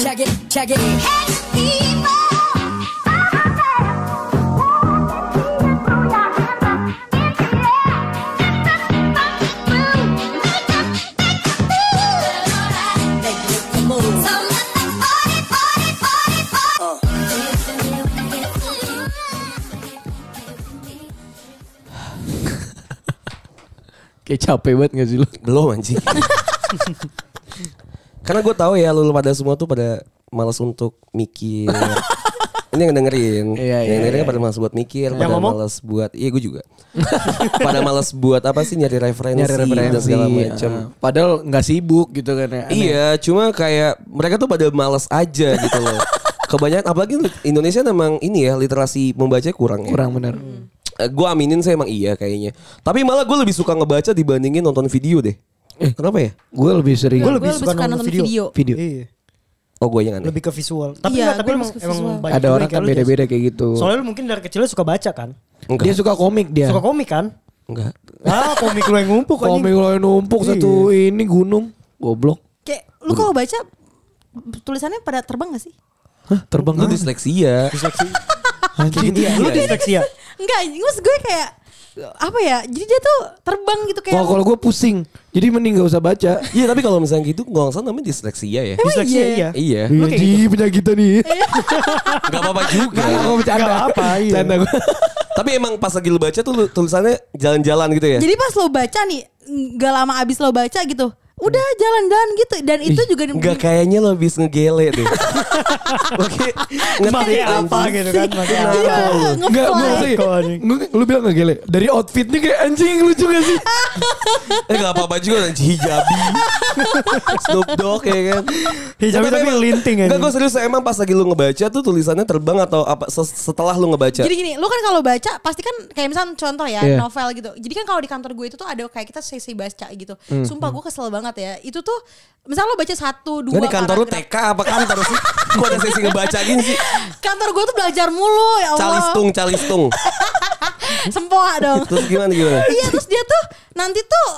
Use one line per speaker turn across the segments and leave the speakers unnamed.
Check it. Make it the move.
Kayak capek banget gak sih lu?
Belum anjing. Karena gue tahu ya lu pada semua tuh pada malas untuk mikir. Ini yang dengerin,
Iya, iya,
yang dengerin kan
iya.
pada malas buat mikir,
Yang
pada
ngomong?
malas buat, iya gue juga. pada malas buat apa sih nyari referensi,
Nyari referensi
dan segala macam.
ah. Padahal gak sibuk gitu kan ya. Aneh.
Iya, cuma kayak mereka tuh pada malas aja gitu loh. Kebanyakan apalagi Indonesia memang ini ya literasi membaca kurang ya.
Kurang bener.
Eh, Gue aminin saya emang iya kayaknya. Tapi malah gue lebih suka ngebaca dibandingin nonton video deh. Eh, kenapa ya?
Gue lebih sering.
Gue
Gua
lebih suka nonton video.
Video.
Iya.
Oh gue yang aneh.
Lebih ke visual. Tapi enggak,
Iya,
tapi
gua
emang,
lebih suka
emang
visual.
banyak
Ada
juga
orang
yang
kan
kayak lu, Jas.
beda-beda kayak gitu. Iya.
Soalnya lu mungkin dari kecilnya suka baca kan?
Enggak.
Dia suka komik dia.
Suka komik kan?
Enggak.
Ah, komik lu yang ngumpuk anjing.
komik lo yang numpuk satu ini gunung. Goblok.
Kayak lu kalau baca tulisannya pada terbang gak sih?
Hah, terbang
Lu
kan?
disleksia.
Anjing.
Iya, Lu disleksia.
Enggak, maksud gue kayak apa ya? Jadi dia tuh terbang gitu kayak
Oh,
Wah kalau gue pusing. Jadi mending gak usah baca.
Iya tapi kalau misalnya gitu nggak usah namanya disleksia ya.
Disleksia iya.
Iya.
Lu kayak gitu.
penyakitnya nih.
Gak apa-apa juga.
Gue bercanda.
Nggak apa, iya.
Bercanda gue.
tapi emang pas lagi lu baca tuh lu- tulisannya jalan-jalan gitu ya.
Jadi pas lo baca nih, nggak lama abis lo baca gitu, udah jalan-jalan gitu. Dan itu juga
Enggak kayaknya lo habis ngegele deh. Oke.
Pakai
Iya.
apa gitu kan? Pakai
Jadi,
apa? Iya.
eh,
Enggak gue
Iya, ngefly.
sih.
Kok, anjing?
Gua- Lu bilang gak gele. Dari outfitnya kayak anjing lucu gak sih?
Eh gak apa-apa juga Nanti hijabi Snoop Dogg ya kan
Hijabi tapi
emang-
linting ya.
Enggak gue serius Emang pas lagi lu ngebaca tuh Tulisannya terbang atau apa ses- Setelah lu ngebaca
Jadi gini, lu
Iya.
kan kalau baca pasti kan kayak misalnya contoh ya
Iya.
novel gitu. Jadi kan kalau di kantor gue itu tuh ada kayak kita sesi baca gitu.
Hmm,
Sumpah gue kesel banget ya. Itu tuh misalnya lo baca satu dua.
Enggak di kantor lu
paragraf.
TK apa kantor sih Gue ada sesi ngebaca gini sih
Kantor gue tuh belajar mulu ya Allah.
Calistung Calistung
Sempoa dong.
Terus gimana gimana
iya terus dia tuh nanti tuh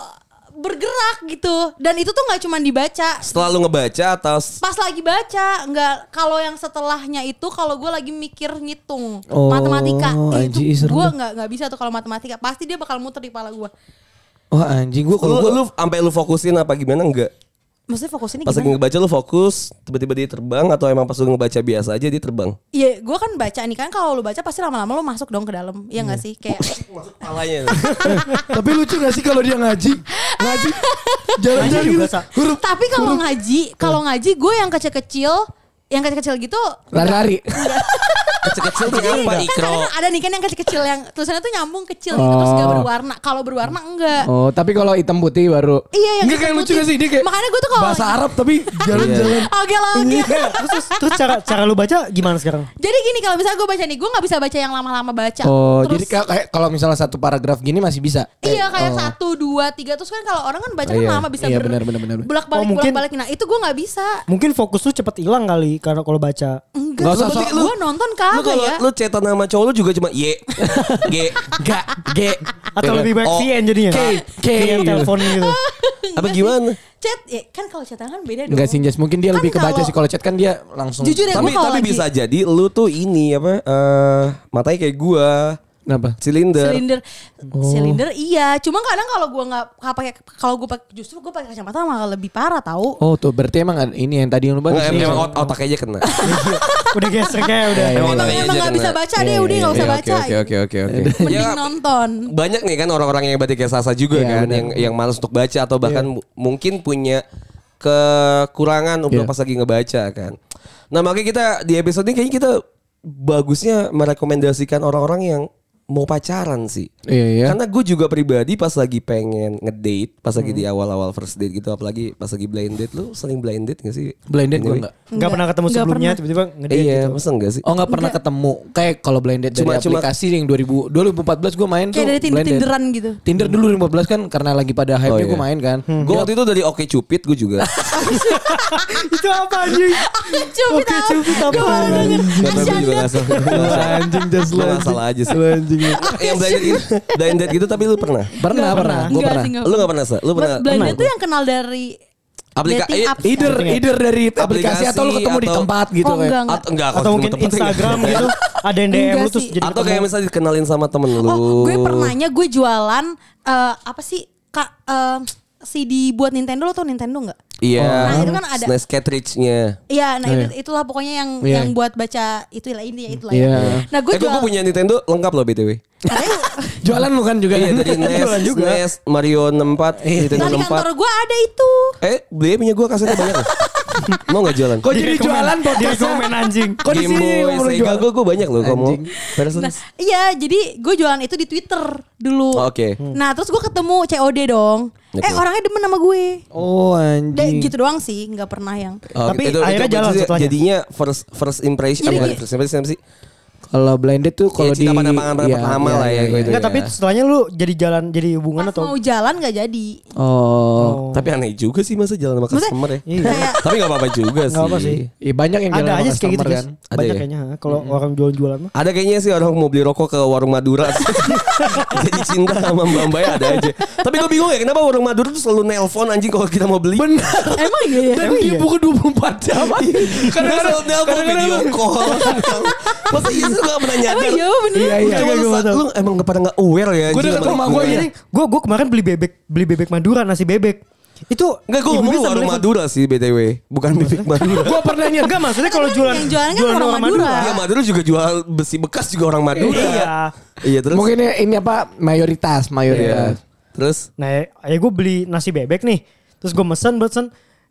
bergerak gitu. Dan itu tuh nggak cuma dibaca.
Setelah lu ngebaca Atau s-
Pas lagi baca nggak kalau yang setelahnya itu kalau gue lagi mikir ngitung
Oh,
matematika
anjing,
itu
serem
gue
banget.
nggak nggak bisa tuh kalau matematika pasti dia bakal muter di kepala gue.
Wah anjing gue
Lu,
kalau gue
lu sampai lu fokusin apa gimana enggak
Maksudnya fokusnya
Pas lagi
gimana?
ngebaca lu fokus Tiba-tiba dia terbang Atau emang pas lu ngebaca biasa aja Dia terbang
Iya, gue kan baca nih kan kalau lu baca pasti lama-lama lu masuk dong ke dalam,
Iya.
ya nggak sih? Kayak
Palanya
Tapi lucu gak sih kalau dia ngaji? Ngaji. Jalan-jalan
Ngaji
gitu.
juga, Sa.
Huruf.
tapi kalau ngaji, kalau ngaji gue yang kecil-kecil, yang kecil-kecil gitu.
Lari-lari.
Kecil-kecil tuh
Jadi
apa
kan
Ikro
kadang ada nih kan yang kecil-kecil yang tulisannya tuh nyambung kecil gitu terus gak
Oh.
berwarna. Kalau berwarna enggak.
Oh, tapi kalau hitam putih baru.
Iya, yang
Enggak kayak lucu
hitam
gak sih dia
putih.
kayak
Makanya gua tuh kalau-
bahasa Arab tapi jalan-jalan.
Oke lah, oke.
Terus terus cara cara lu baca gimana sekarang?
Jadi gini kalau misalnya gue baca nih, gue nggak bisa baca yang lama-lama baca.
Oh,
Terus-
jadi kayak, kayak kalau misalnya satu paragraf gini masih bisa. Eh,
Iya
oh.
kayak satu dua tiga terus kan kalau orang kan baca kan
Iya.
lama bisa
Iya,
ber-
benar, benar, benar, benar.
bolak balik
Oh, mungkin-
bolak balik. Nah itu gue nggak bisa.
Mungkin fokus lu cepet hilang kali karena kalau baca.
Enggak,
Nggak usah,
gua-
so-
gua nonton
Lu
kagak
kalau
ya.
lu cetan nama cowok lu juga cuma Y G G G
Atau lebih banyak
O,
VN jadinya.
K, K.
Kayak telepon gitu.
Apa gimana?
Chat, ya kan kalau chat kan beda dong.
Enggak sih, Jess. Mungkin dia
Kan
lebih kebaca
kalau-
sih kalau chat kan dia langsung.
Jujur ya,
Tapi
gua kalau
tapi
lagi-
bisa jadi lu tuh ini apa eh matanya kayak gua
Kenapa?
silinder.
Silinder,
Oh.
silinder iya. Cuma kadang kalau gue nggak nggak pakai, kalau gue pakai justru gue pakai kacamata malah lebih parah tau.
Oh, tuh berarti emang ada- ini yang tadi yang lu bahas.
Nggak, em- emang ot- otak aja kena. Iya,
Udah geser kayak udah.
Iya,
Emang emang nggak bisa baca deh, udah nggak usah baca.
Oke oke oke oke.
Mending nonton.
Banyak nih kan orang-orang yang berarti kayak Sasa juga
Iya,
kan
benar. Iya.
yang yang malas untuk baca atau bahkan mu- mungkin punya kekurangan untuk
Iya.
pas lagi ngebaca kan. Nah, makanya kita di episode ini kayaknya kita bagusnya merekomendasikan orang-orang yang mau pacaran sih.
Iya, iya.
Karena gue juga pribadi pas lagi pengen ngedate, pas lagi
Hmm.
di awal-awal first date gitu, apalagi pas lagi blind date, lu sering blind date gak sih?
Blinded gue
Anyway.
enggak.
Enggak pernah ketemu
Nggak
sebelumnya
pernah.
tiba-tiba ngedate
Iya,
gitu.
masa enggak sih?
Oh nggak pernah ketemu Kayak kalau blinded
Cuma-
dari
cuma-
aplikasi yang 2000 2014 gue main tuh
Kayak dari Tinder-
blinded.
Tinderan gitu. Hmm.
Tinder dulu 2014 kan karena lagi pada hype nya
iya.
gue main kan
hmm.
Gue waktu itu dari Oke Cupid gue juga.
Itu apa anjing? Oke,
Cupid tau.
cupid apa?
Gue baru denger.
Gak tahu, gua juga gak salah.
Anjing just
Lu gak salah aja sih. Nah, yang blind date, gitu- blind date gitu tapi lu pernah?
Pernah pernah Gue
Nggak
pernah
sih, nggak
Lu gak pernah, Sa? Lu pernah?
Blindnya tuh yang kenal dari
Aplika-
Dating apps kan?
Either,
Dating
either dari
Aplikasi
aplikasi atau lu ketemu di
atau-
tempat gitu
Oh,
kayak.
enggak.
At- enggak, kalau
Atau
ketemu
mungkin
tempat enggak.
Instagram gitu ada yang DM
Enggak
lu terus
sih.
jadi
Atau kayak
ketemu.
misalnya dikenalin sama temen lu.
Oh, gue pernahnya gue jualan eh, apa sih kak eh, CD buat Nintendo lo tau Nintendo nggak?
Iya.
Nah, itu kan ada-
SNES cartridge-nya.
Iya, nah
Iya.
itu- itulah pokoknya yang
Iya.
yang buat baca itulah ini ya itulah.
Iya.
ya. Nah gue
eh, gue
jual.
punya Nintendo lengkap loh BTW.
Katanya,
Jualan lu kan juga.
Iya, dari
Jualan
NES,
juga.
NES, E Mario 64, Nintendo
nah, di kantor
64.
gue ada itu.
Eh, belinya punya gue kasetnya banyak. loh. Mau gak jualan?
Kok Oh, jadi
Direkomen-
jualan podcastnya?
direkomen anjing.
Kok di
Game
sini
Boy,
ngomong
Sega
jualan?
gue gue banyak loh kamu.
Anjing.
Nah, iya, jadi gue jualan itu di Twitter dulu.
Oh, oke.
Nah, terus gue ketemu COD dong.
Oke.
Eh, orangnya demen sama gue.
Oh
Da,
anjing.
gitu doang sih, nggak pernah yang.
Oh,
Tapi
gitu,
akhirnya jalan
jadi-
setelahnya.
Jadinya first first impression
Jadi
bukan
kayak-
first impression apa sih?
Kalau blinded tuh kalau
Ya,
di
cinta pada pangan
iya,
pertama
iya,
lah ya,
iya,
gue
iya.
itu.
Enggak, tapi setelahnya lu jadi jalan jadi hubungan
Pas
atau Iya.
mau jalan nggak jadi.
Oh.
Tapi aneh juga sih masa jalan sama
Maksudnya,
customer ya.
Iya.
Kayak
Tapi gak apa-apa juga sih.
Nggak apa sih.
Iya banyak yang
ada
jalan
aja
sama kan.
sih kayak gitu
customer
guys.
Ada
Banyak
ya?
kayaknya ha, kalau orang jual-jualan mah.
Ada kayaknya sih orang mau beli rokok ke warung Madura Jadi cinta sama Mbak Mbak ya, ada aja Tapi gue bingung ya kenapa warung Madura tuh selalu nelpon anjing kalau kita mau beli
Benar.
emang iya ya.
Dan dia buka 24 jam.
Iya. Karena selalu nelpon video call Masa iya sih gak pernah nyadar
Emang iya bener.
Iya iya.
Cuma
iya,
lu,
gua
sa-
tahu.
lu emang gak pada gak aware ya
Gua
anjing,
Iya,
deket
sama
sama
lingkungan.
gua ini.
Gue gue kemarin beli bebek beli bebek Madura nasi bebek. Itu
Enggak gue
ibunya
ngomong
sambil
warung
ikut-
Madura sih BTW Bukan bibik Madura
Gua pernah nyet. Enggak maksudnya kalau
Kan
jualan
yang jualan kan orang Madura.
Iya Madura juga jual besi bekas juga orang Madura
Iya.
Iya terus
Mungkin ya ini apa mayoritas
Iya.
mayoritas.
Terus
Nah, ya gue beli nasi bebek nih. Terus gue mesen mesen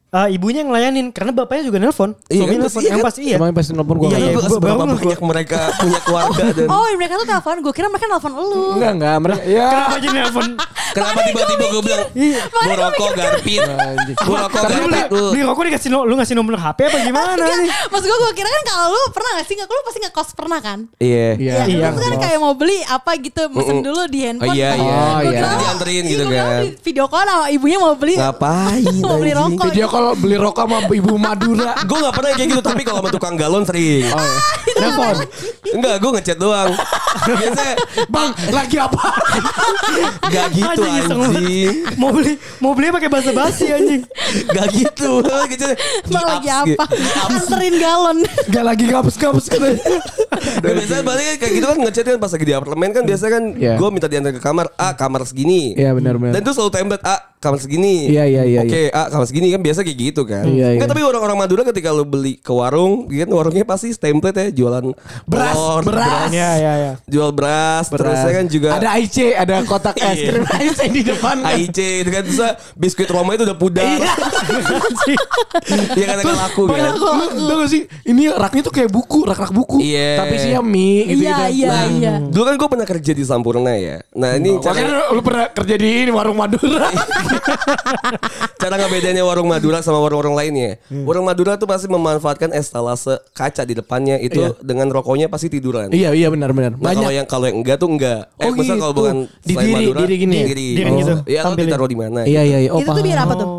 eh, ibunya ngelayanin karena bapaknya juga nelpon.
Iya,
Suaminya
kan?
nelpon
Iya,
yang
kan?
pasti iya.
Emang pasti nelpon gua.
Iya,
Iya,
iya, gua
seberapa
baru-
banyak mereka punya keluarga dan
Oh, mereka tuh telepon. Gue kira mereka nelfon elu.
Enggak enggak mereka. Ya.
Kenapa jadi nelpon?
Kenapa tiba-tiba gue bilang gue
Makanya gua
rokok
mikir,
garpin,
Anjing.
gue rokok
Tapi lu beli,
garpin dulu.
beli rokok dikasih no- lu ngasih nomor HP apa gimana nih?
Maksud gue, gue kira kan kalau lu pernah gak sih? Nggak, lu pasti nggak kos pernah kan?
Iya.
Iya.
Iya,
iya,
iya, kan
jelas.
kayak mau beli apa gitu, mesen
Mm-mm.
dulu di handphone.
Oh, iya,
kan.
iya.
Oh,
Gua
iya.
kira,
Dianterin
ih,
gitu
gua kira
kan.
di Video call sama ibunya mau beli.
Ngapain?
Mau beli
anjing?
rokok.
Video kalau beli rokok sama ibu Madura.
Iya,
Gue gak pernah kayak gitu tapi kalau sama tukang galon sering.
Nelpon.
Enggak, gue ngechat doang. Biasanya
Bang, lagi apa?
gak gitu
Anjing, iseng banget.
anjing.
Mau beli mau beli pakai bahasa basi anjing.
Gak gitu. Ngechat,
Bang
"Gi,
lagi
abs, gi."
apa? Anterin galon.
Enggak lagi ngapus-ngapus katanya.
Nah, biasanya balik kayak gitu kan ngechat kan pas lagi di apartemen kan biasanya kan
Iya.
gue minta diantar ke kamar A kamar segini.
Iya, benar, benar.
Dan itu selalu template A kamar segini.
Iya, iya, iya,
Oke A kamar segini kan biasa kayak gitu kan.
Iya,
Nggak,
iya.
tapi orang-orang Madura ketika lo beli ke warung, gitu kan warungnya pasti template ya jualan
Beras,
telur,
beras.
Iya iya iya.
Jual beras, terus
Beras.
ya kan juga Iya.
ada IC, ada kotak es krim IC di depan. kan.
AIC itu kan terus biskuit Roma itu udah pudar.
Iya.
Anjing.
Iya kan agak laku
Padahal
kan.
lu-
Iya.
lu Tau gak sih Ini raknya tuh kayak buku Rak-rak buku
Iya.
Tapi isinya mie gitu
Iya, iya, iya.
Dulu kan gue pernah kerja di Sampurna ya. Nah ini cara
Makanya lu- lu pernah kerja di ini warung Madura
Cara ngebedainnya warung Madura sama warung-warung lainnya.
Hmm.
Warung Madura tuh pasti memanfaatkan estalase kaca di depannya itu
Iya.
dengan rokoknya pasti tiduran.
Iya iya benar-benar
Nah, kalau
Banyak
yang kalau yang enggak tuh enggak.
Oh,
maksudnya kalau
gitu.
bukan
Di
selain
diri-
Madura,
diri gini ya?
diri.
Diri gitu,
Iya, lo
tampilin.
ditaruh di mana?
Iya iya iya oh,
Itu tuh
paham.
biar apa tuh?
Oh.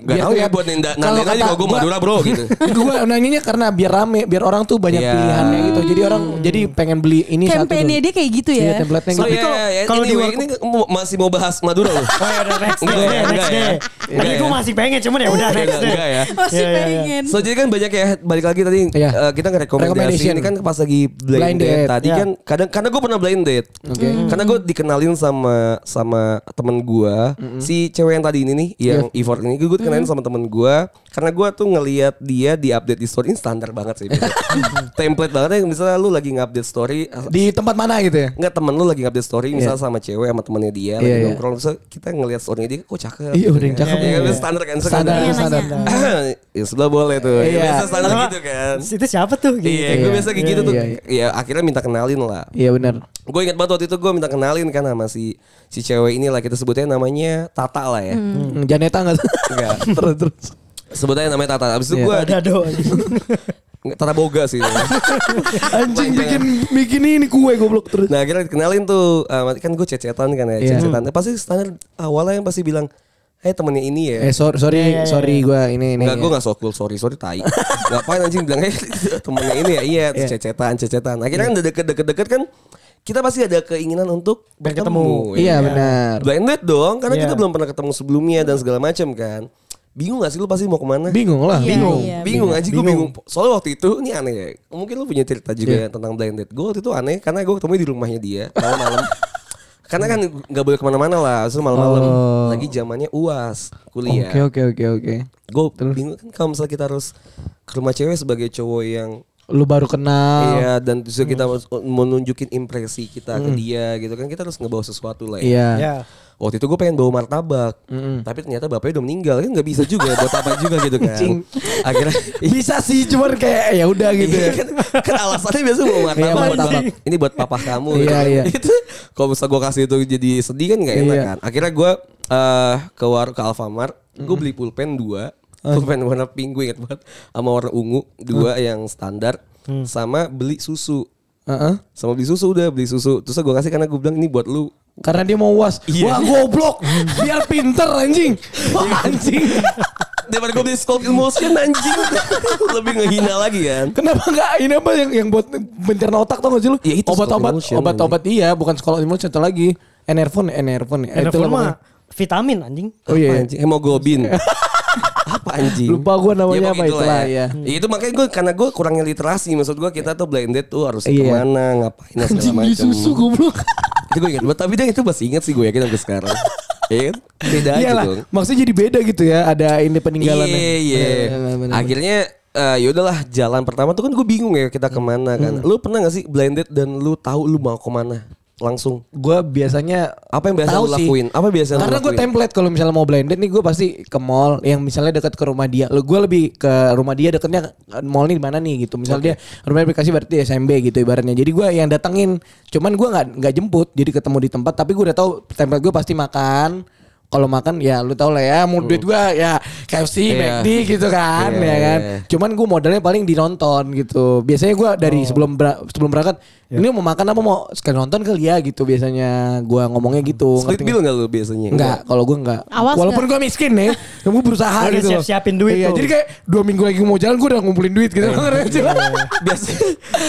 Gak
Biar
tahu ya
kelihatan.
buat nenda
Iya, Kalau
nandain aja
kata
kalau gue
gua-
Madura, Bro gitu.
Gue nanyanya karena biar rame Biar orang tuh banyak
Iya.
pilihannya gitu Jadi orang jadi pengen beli ini satu
Kampanye
dulu.
dia kayak gitu
Iya
ya.
template-nya
So,
gitu
ya, ya,
kalau di
anyway,
warung-
ini mau- masih mau bahas Madura loh.
Oh ya udah next
Enggak
deh,
ya,
next
enggak
deh.
ya. Enggak
Tapi gue
ya.
masih pengen cuman ya udah next
Enggak,
deh.
enggak ya.
Masih
Iya, iya, iya.
pengen.
So jadi kan banyak ya balik lagi tadi
Iya.
eh, kita ngerekomendasi
Recommendation.
ini kan pas lagi blind,
Blind
date.
date,
tadi
iya.
kan kadang karena gue pernah blind date.
Oke.
Hmm. Karena gue dikenalin sama sama temen gue si cewek yang tadi ini nih yang
Iya.
Ivor ini gue dikenalin sama temen gue karena gue tuh ngelihat dia di update di story ini standar banget sih. biasanya. Template banget ya misalnya lu lagi nge-update story
Di tempat mana gitu ya
Enggak temen lu lagi update story misalnya sama cewek sama temennya dia
Iya,
lagi
iya.
nongkrong terus kita ngelihat story dia kok cakep.
Iya, udah yang
kan.
cakep,
Iya, kan,
iya.
standar kan
Standar
Iya,
standar
nanya.
ya sudah boleh tuh.
Iya.
Biasa standar
Sama,
gitu kan.
Itu siapa tuh? Gitu.
Iya, gue biasa kayak
Iya,
gitu tuh.
kan. iya,
Ya akhirnya minta kenalin lah.
Iya benar
Gue ingat banget waktu itu gue minta kenalin kan sama si si cewek ini lah kita sebutnya namanya Tata lah ya.
Hmm, Janeta gak?
Enggak.
terus terus.
Sebutnya namanya Tata. Abis itu
Iya.
gue
Ada doang.
Tata Boga sih.
Anjing bikin bikin ini kue goblok terus.
Nah akhirnya dikenalin tuh eh, Kan gue cecetan kan ya
Iya.
Cecetan Pasti standar awalnya yang pasti bilang Eh temennya ini ya
Eh sorry
Iya,
sorry sorry gue ini ini. ya.
Enggak, gue gak so cool, sorry, sorry, tai Ngapain anjing bilang, eh temennya ini ya, iya, terus cecetan, cecetan
Iya.
Akhirnya kan udah deket-deket-deket kan, kita pasti ada keinginan untuk
Berketemu.
bertemu
Iya benar.
Blinded dong, karena
Iya.
kita belum pernah ketemu sebelumnya dan segala macam kan bingung gak sih lu pasti mau kemana?
Bingung lah.
Iya,
bingung.
iya.
bingung aja gue
Bingung.
bingung. Soalnya waktu itu ini aneh ya. Mungkin lu punya cerita juga
Iya.
ya tentang blind date. Gue waktu itu aneh karena gue ketemu di rumahnya dia malam-malam. karena kan nggak boleh kemana-mana lah. Terus malam-malam
Oh.
lagi zamannya uas kuliah.
Oke oke oke oke.
Gue bingung kan kalau misalnya kita harus ke rumah cewek sebagai cowok yang
Lu baru kenal.
Iya dan justru kita harus menunjukin impresi kita ke dia gitu kan kita harus ngebawa sesuatu lah ya.
Iya.
Ya.
Waktu itu gue pengen bawa martabak, tapi ternyata bapaknya udah meninggal kan nggak bisa juga buat apa juga gitu kan. Akhirnya
Bisa sih cuman kayak ya udah gitu.
Iya, kan, kan alasannya biasa mau martabak,
Iya,
buat
martabak.
apa? Ini buat papa kamu.
Iya,
gitu.
iya.
Itu kalau misal gue kasih itu jadi sedih kan nggak enak
Iya.
kan. Akhirnya gue eh ke war ke Alfamart, gue beli pulpen dua, pulpen warna pink gue inget banget, sama warna ungu dua yang standar, sama beli susu.
Heeh.
Sama beli susu udah beli susu. Terus gue kasih karena gue bilang ini buat lu.
Karena dia mau was.
Iya.
Wah goblok. Biar pinter anjing. Wah, anjing.
Daripada gue beli Skull Emotion anjing. Lebih ngehina lagi kan.
Kenapa enggak ini apa yang yang buat bencana otak tau gak sih lu?
Ya, itu
obat-obat
Scott Emotion,
obat-obat iya bukan sekolah emotion satu lagi. Enervon, enervon. ya.
Ada
Itulah pokoknya.
forma vitamin anjing.
Oh
Apa
iya.
anjing? Hemoglobin. apa anjing?
Lupa gua namanya
Ya,
apa
pokoknya
itulah ya.
Ya, itu makanya gue karena gue kurangnya literasi maksud gue kita tuh blended tuh harus
Iya.
kemana ngapain dan segala
Anjing beli
macam.
susu goblok.
itu gue ingat banget. Tapi dia itu masih ingat sih gue yakin sampai sekarang. Iya kan? Beda aja
Iyalah, ya.
dong.
maksudnya jadi beda gitu ya. Ada ini peninggalannya.
Iya iya.
Bener, bener, bener.
Akhirnya eh, ya udahlah jalan pertama tuh kan gue bingung ya kita kemana
Hmm.
kan. Lu pernah gak sih blended dan lu tahu lu mau kemana langsung?
gue biasanya
Apa yang biasa
tahu
lu
sih.
lakuin? Apa biasa lu
Karena gue
lakuin?
template kalau misalnya mau blended nih gue pasti ke mall yang misalnya dekat ke rumah dia. Lo gue lebih ke rumah dia dekatnya mallnya di mana nih gitu. Misalnya dia rumahnya aplikasi berarti SMB gitu ibaratnya. Jadi gue yang datengin. Cuman gue nggak nggak jemput. Jadi ketemu di tempat. Tapi gue udah tahu template gue pasti makan. Kalau makan ya lu tau lah ya mau duit gue ya KFC,
Hmm. Iya.
McD gitu kan
Iya,
ya
iya,
kan.
iya.
Cuman gue modalnya paling di nonton gitu. Biasanya gue
Oh.
dari sebelum ber- sebelum berangkat
Ya.
ini mau makan apa mau sekali nonton kali ya gitu biasanya gue ngomongnya
Hmm.
gitu.
Split
ngerti
bill gak lu biasanya?
Enggak, kalau gue enggak.
Awas
Walaupun gue miskin nih, gue berusaha
Udah
gitu. loh.
siap-siapin duit
Iya,
tuh. Iya.
jadi kayak dua minggu lagi mau jalan, gue udah ngumpulin duit gitu. Ngerti nggak?
biasanya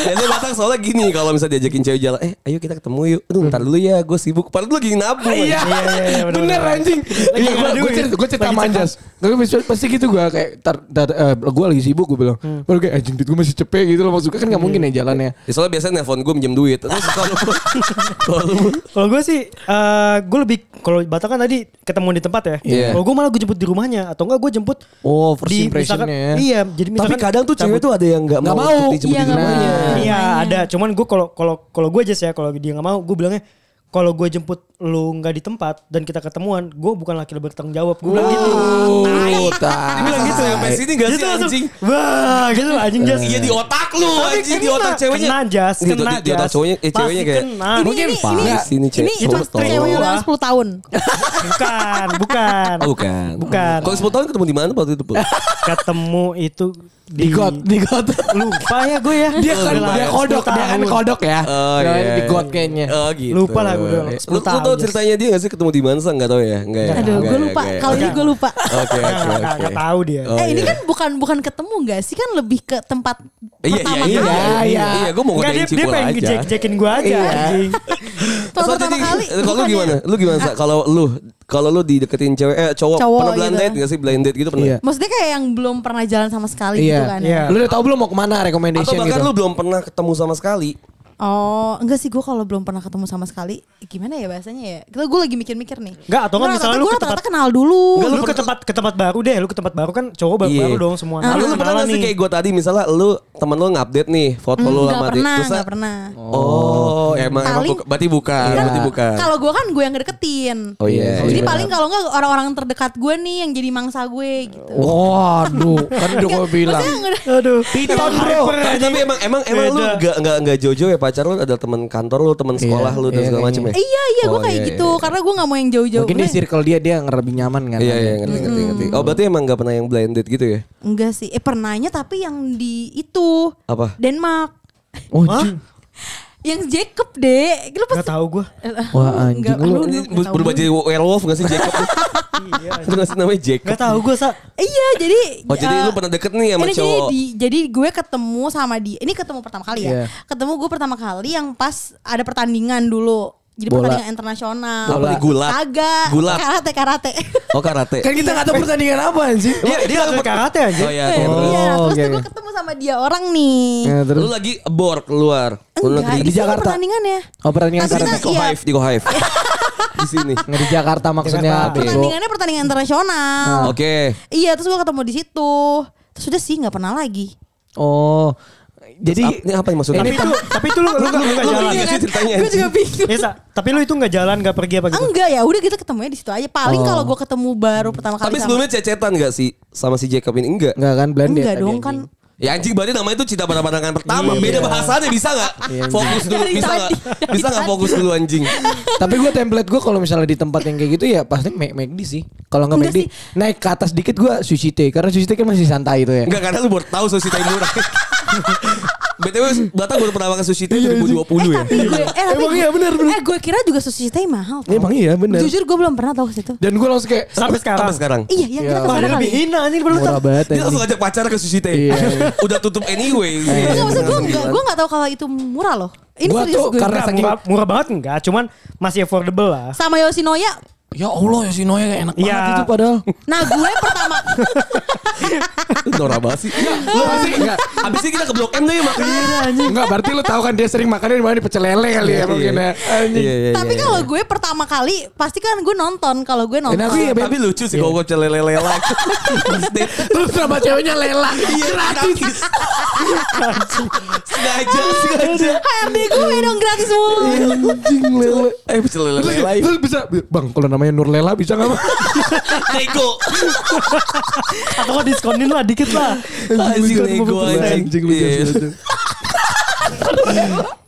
biasanya Batak soalnya gini kalau misalnya diajakin cewek jalan eh ayo kita ketemu yuk aduh ntar dulu ya gue sibuk padahal lu lagi
Iya,
nabung anjing.
iya, iya,
bener
bener, bener.
anjing.
Lagi
Iya,
nggak ada
gue
duit.
cerita, gue cerita
Lagi
sama
cerita.
Anjas. Gue pasti- pasti gitu gue kayak, tar, tar, gue lagi sibuk gue bilang,
Hmm.
baru kayak anjing duit gue masih cepet gitu loh. Maksudnya kan
Iya,
nggak mungkin ya jalannya.
Ya, soalnya biasanya nelfon gue minjem duit terus kalau kalau lu-
Kalau gue sih, gue lebih kalau Batak kan tadi ketemu di tempat ya.
Iya.
Kalau gue malah gue jemput di rumahnya atau enggak gue jemput
Oh, first
di
impression-nya
misalkan,
ya.
Iya, jadi misalkan
tapi kadang tuh cewek
cabut-
tuh ada yang nggak
Nggak
mau, kan?
mau. Nah,
untuk dijemput
Iya,
di
nggak
rumahnya.
mau.
Iya
Rumahnya.
ada, cuman gue kalau kalau kalau gue aja sih ya kalau dia nggak mau gue bilangnya kalau gue jemput lu nggak di tempat dan kita ketemuan, gue bukan laki yang bertanggung jawab. Gue bilang gitu.
Oh,
Dia bilang gitu sampai sini gak sih
Gitu langsung,
anjing
Wah, gitu loh anjing jas.
Iya di otak lu
Tapi
anjing di
kena,
otak ceweknya Gitu,
Kena jas,
Di-
kena
di- di otak
jas.
cowoknya eh
Pasti
ceweknya kayak
kena.
Ini,
Ah, Mungkin
ini,
Pak.
ini,
Sini, cewek.
ini,
Cowok
cewek yang
tolol.
udah 10 tahun.
bukan, bukan.
Oh, bukan.
Bukan.
Kalau 10 tahun ketemu di mana waktu itu, Bu?
Ketemu itu
Di got, di got.
Lupa ya gue ya.
Dia kan
Udah lah,
dia
10
kodok, dia kan
tahun.
kodok ya.
Ah,
Oh,
Dia
iya.
Di got kayaknya.
Oh, gitu.
Lupa lah gue udah
Lu,
10
lu tau
tahun.
ceritanya dia gak sih ketemu di Mansa? Gak tau ya? Enggak ya?
Aduh,
Nggak
gue
ya,
lupa.
nggak ya.
Kalau ini gue lupa.
Oke, oke,
Nggak, nggak,
oke.
nggak tahu dia.
Oh,
eh ini
iya.
kan bukan bukan ketemu gak sih kan lebih ke tempat
Iya,
pertama kan?
iya,
kali.
iya, iya. Iya, gue mau ngodain
Enggak, Ah, dia, dia
cipul
pengen
aja.
ngejek-jekin gue aja.
Iya.
anjing.
Tempat
So,
pertama
jadi,
kali.
Kalau lu
bukannya-
gimana? Lu gimana? Sa? Kalau lu kalau lu dideketin cewek eh cowok,
Cowok
pernah blind
gitu.
date gak sih blind date gitu pernah?
Iya.
Maksudnya kayak yang belum pernah jalan sama sekali gitu kan.
Iya.
ya?
Lu udah tau belum mau kemana
Atau
recommendation
bahkan
gitu?
lu belum pernah ketemu sama sekali?
Oh, enggak sih gue kalau belum pernah ketemu sama sekali, gimana ya bahasanya ya? Kita gue lagi mikir-mikir nih.
Enggak, atau enggak
Karena
misalnya lu
rata-rata gua
ke
rata-rata
tempat-
kenal dulu.
Enggak, lu ke tempat ke tempat baru deh, lu ke tempat baru kan cowok baru, baru dong semua.
Nah,
Ah.
lu, lu pernah gak sih kayak gue tadi misalnya lu temen lu ngupdate nih foto lu
Hmm, Enggak
sama dia.
pernah,
Terus
enggak
sa-
pernah.
Oh, emang, emang
Paling-
buka- berarti bukan,
Kan
berarti bukan.
Kalau gue kan gue yang ngedeketin.
Oh iya.
Jadi
iya.
paling kalau enggak orang-orang terdekat gue nih yang jadi mangsa gue gitu.
Oh,
Waduh, kan udah gue bilang.
Aduh,
Piton, bro.
Eh, tapi emang emang emang lu
Beda.
gak gak gak jojo ya pacar lu ada teman kantor lu, teman sekolah lu dan
iya,
segala macam ya?
Iya iya gue
Oh,
kayak
iya,
gitu karena gue nggak mau yang jauh-jauh.
Mungkin di
Enggak-
circle dia dia lebih nyaman kan.
Iya iya ngerti ngerti ngerti. Oh berarti emang gak pernah yang blind date gitu ya?
Enggak sih. Eh pernahnya tapi yang di itu
Apa?
Denmark.
Oh, anjing.
Yang Jacob deh. Lu
Enggak
pasti
tahu gue.
Wah, anjing lu.
Ini berubah jadi werewolf gak sih Jacob? Iya. Itu gak sih namanya Jacob?
Enggak tahu gue, Sa.
Iya jadi
Oh jadi
eh,
lu pernah deket nih sama
ini jadi
cowok?
di- jadi gue ketemu sama dia. Ini ketemu pertama kali ya.
Iya.
Ketemu gue pertama kali yang pas ada pertandingan dulu. Jadi
Bola.
pertandingan internasional.
Apa nih, gulat?
Kagak.
Gulat.
Karate karate.
Oh karate.
Kan kita nggak tahu pertandingan apa sih.
Iya, dia
Atlet
lagi-
karate aja.
Oh iya,
Iya,
iya, betul.
terus
oke,
tuh gue
oke.
ketemu sama dia orang nih.
Ya,
Lu
terus.
lagi abort keluar. Lu
Enggak, kan
di Jakarta.
di Jakarta. pertandingannya.
Iya.
Oh pertandingan
Tapi
karate.
kita-
Di Kohive, di Kohive. di sini.
Nggak di Jakarta maksudnya. gitu.
Jakarta.
bego.
Pertandingannya pertandingan internasional.
Oke.
Iya, terus gue ketemu di situ. Terus udah sih nggak pernah lagi.
Oh. Jadi
Ap- Ini apa yang maksudnya?
Tapi itu, tapi itu lu lu nggak lu nggak
lu gitu.
jalan.
bingung. sih ceritanya,
Gue juga bingung.
Ya, Sa, tapi lu itu nggak jalan, nggak pergi apa gitu?
Enggak ya, udah kita ketemunya di situ aja. Paling
Oh.
kalau gue ketemu baru pertama kali
Tapi
sama-
sebelumnya cecetan gak sih sama si Jacob ini? Enggak.
nggak kan blended.
enggak
tadi anjing.
dong kan.
Ya anjing berarti namanya itu cinta pada pandangan pertama.
Iya,
Beda bahasanya bisa gak? Fokus dulu
Dari
bisa
tadi,
gak?
dari
Bisa gak
tadi.
fokus dulu anjing?
Tapi gue template gue kalau misalnya di tempat yang kayak gitu ya pasti make make di sih. Kalau nggak
Enggak
make di naik ke atas dikit gue sushi teh karena sushi teh kan masih santai itu ya.
Enggak karena lu baru tahu sushi Thai murah. BTW Batak baru pernah makan sushi Thai
Iya,
2020 ya.
Tapi gue, eh, tapi
Emang iya,
gue-
bener, bener.
Eh, gue kira juga sushi teh mahal. tau.
Emang iya benar.
Jujur gue belum pernah tahu ke situ.
Dan gue langsung kayak
Sampai sekarang.
Sampai sekarang.
Iya, yang kita
Iya.
Wah,
kesana
ada
kali.
lebih hina anjing baru
murah banget.
Dia langsung
anjing.
ajak pacar ke sushi Thai.
Iya.
Udah tutup anyway.
Enggak, maksud gue enggak, gue enggak tahu kalau itu murah loh. Ini
Gua
serius
tuh
gue.
karena
Nggak,
saking
murah, murah banget enggak, cuman masih affordable lah.
Sama Yoshinoya,
ya Allah ya si Noya kayak enak
Iya.
banget itu padahal.
nah gue pertama
Norak banget sih.
Iya, Lu pasti enggak. Iya,
Abis ini kita ke Blok M tuh ya makan.
Enggak berarti lu tahu kan dia sering makannya di mana di pecel lele kali ya mungkin ya. Anjing.
Iya, iya,
Tapi
iya.
kalau gue pertama kali Pasti kan gue nonton Kalau gue nonton
Kenapa ya, Beb?
Tapi lucu sih kalau gue lele-lela.
Terus nama ceweknya Lela.
Iya gratis. sengaja, sengaja.
HRD gue dong gratis mulu
Iya, Anjing Lela.
Eh pecel lele-lele.
Terus bisa Bang kalau namanya Nur Lela bisa enggak Bang?
Nego.
Atau kok diskonin lah dikit lah.
Anjing
Diskon
nego
50%.
anjing.
Anjing lucu,
Iya.
lucu.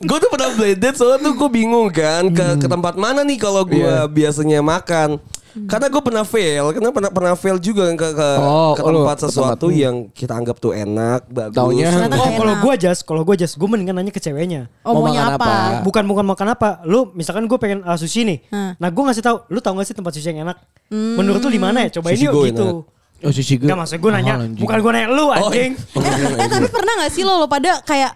Gue tuh pernah blended soalnya tuh gue bingung kan ke, ke tempat mana nih kalau gue
Hmm. Iya.
biasanya makan.
Hmm.
Karena gue pernah fail, karena pernah pernah fail juga kan ke ke,
Oh,
ke
lu, ke
tempat
tempat.
sesuatu
Hmm.
yang kita anggap tuh enak, bagus.
Taunya.
Ternyata
Oh,
enak.
kalau
Nah.
gue jas, kalau gue jas, gue mendingan nanya ke ceweknya.
Oh
Mau makan
maunya
apa?
apa?
Bukan bukan makan apa. Lu misalkan gue pengen ah, sushi nih.
Hmm.
Nah, gue ngasih tahu, lu tahu gak sih tempat sushi yang enak? Menurut lu di mana ya? Cobain
Sushi
yuk
Go
gitu.
enak.
Oh sushi gue.
Enggak maksud gue nanya,
Mahal, anjing.
bukan gue nanya lu
Oh,
anjing.
Eh, eh, tapi pernah gak sih lo lo pada kayak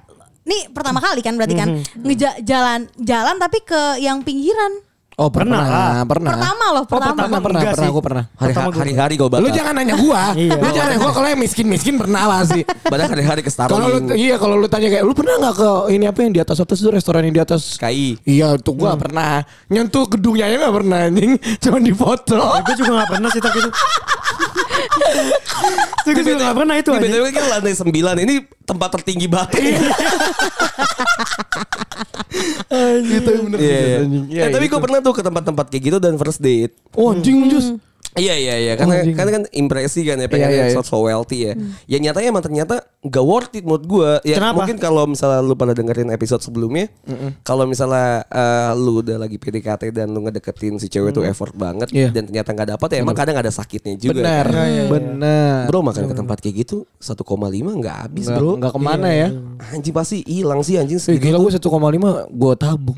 Nih pertama kali kan berarti kan ngeja jalan jalan tapi ke yang pinggiran.
Oh
Pernah
pernah,
lah.
pernah, pernah.
Pertama loh, pertama.
pernah, pernah,
Enggak
pernah,
sih.
gue pernah.
Hari-
Pertama gua-
Hari-hari gue batal.
Lu jangan nanya gua.
Iya.
Lu jangan nanya gua kalau yang miskin-miskin pernah lah sih.
Padahal hari-hari ke Starling.
Kalau lu iya kalau lu tanya kayak lu pernah nggak ke ini apa yang di atas atas itu restoran yang di atas
KI.
Iya tuh gua pernah nyentuh gedungnya ya nggak pernah anjing cuma di foto.
gue Ya, juga gak pernah sih tapi itu. Gue juga gak pernah itu
Di
anjing.
BTW kan lantai 9 ini tempat tertinggi Iya, Batak.
Iya. gitu bener
Iya. iya.
Iya,
Eh, tapi gue pernah tuh ke tempat-tempat kayak gitu dan first date.
Oh anjing jus.
Iya iya iya karena
Oh, Anjing.
karena kan impresi kan ya pengen
Iya, iya,
yang
iya.
so wealthy ya. Ya nyatanya emang ternyata gak worth it menurut gua. Ya
Kenapa?
mungkin kalau misalnya lu pada dengerin episode sebelumnya, kalau misalnya eh, lu udah lagi PDKT dan lu ngedeketin si cewek tuh effort banget
Iya.
dan ternyata nggak dapat ya emang kadang ada sakitnya juga.
Bener,
kan.
bener.
Bro makan ke tempat kayak gitu 1,5 nggak habis
Nggak-
bro.
nggak kemana ya?
Anjing pasti hilang sih anjing
Eh,
segitu.
gila gue 1,5 gue tabung.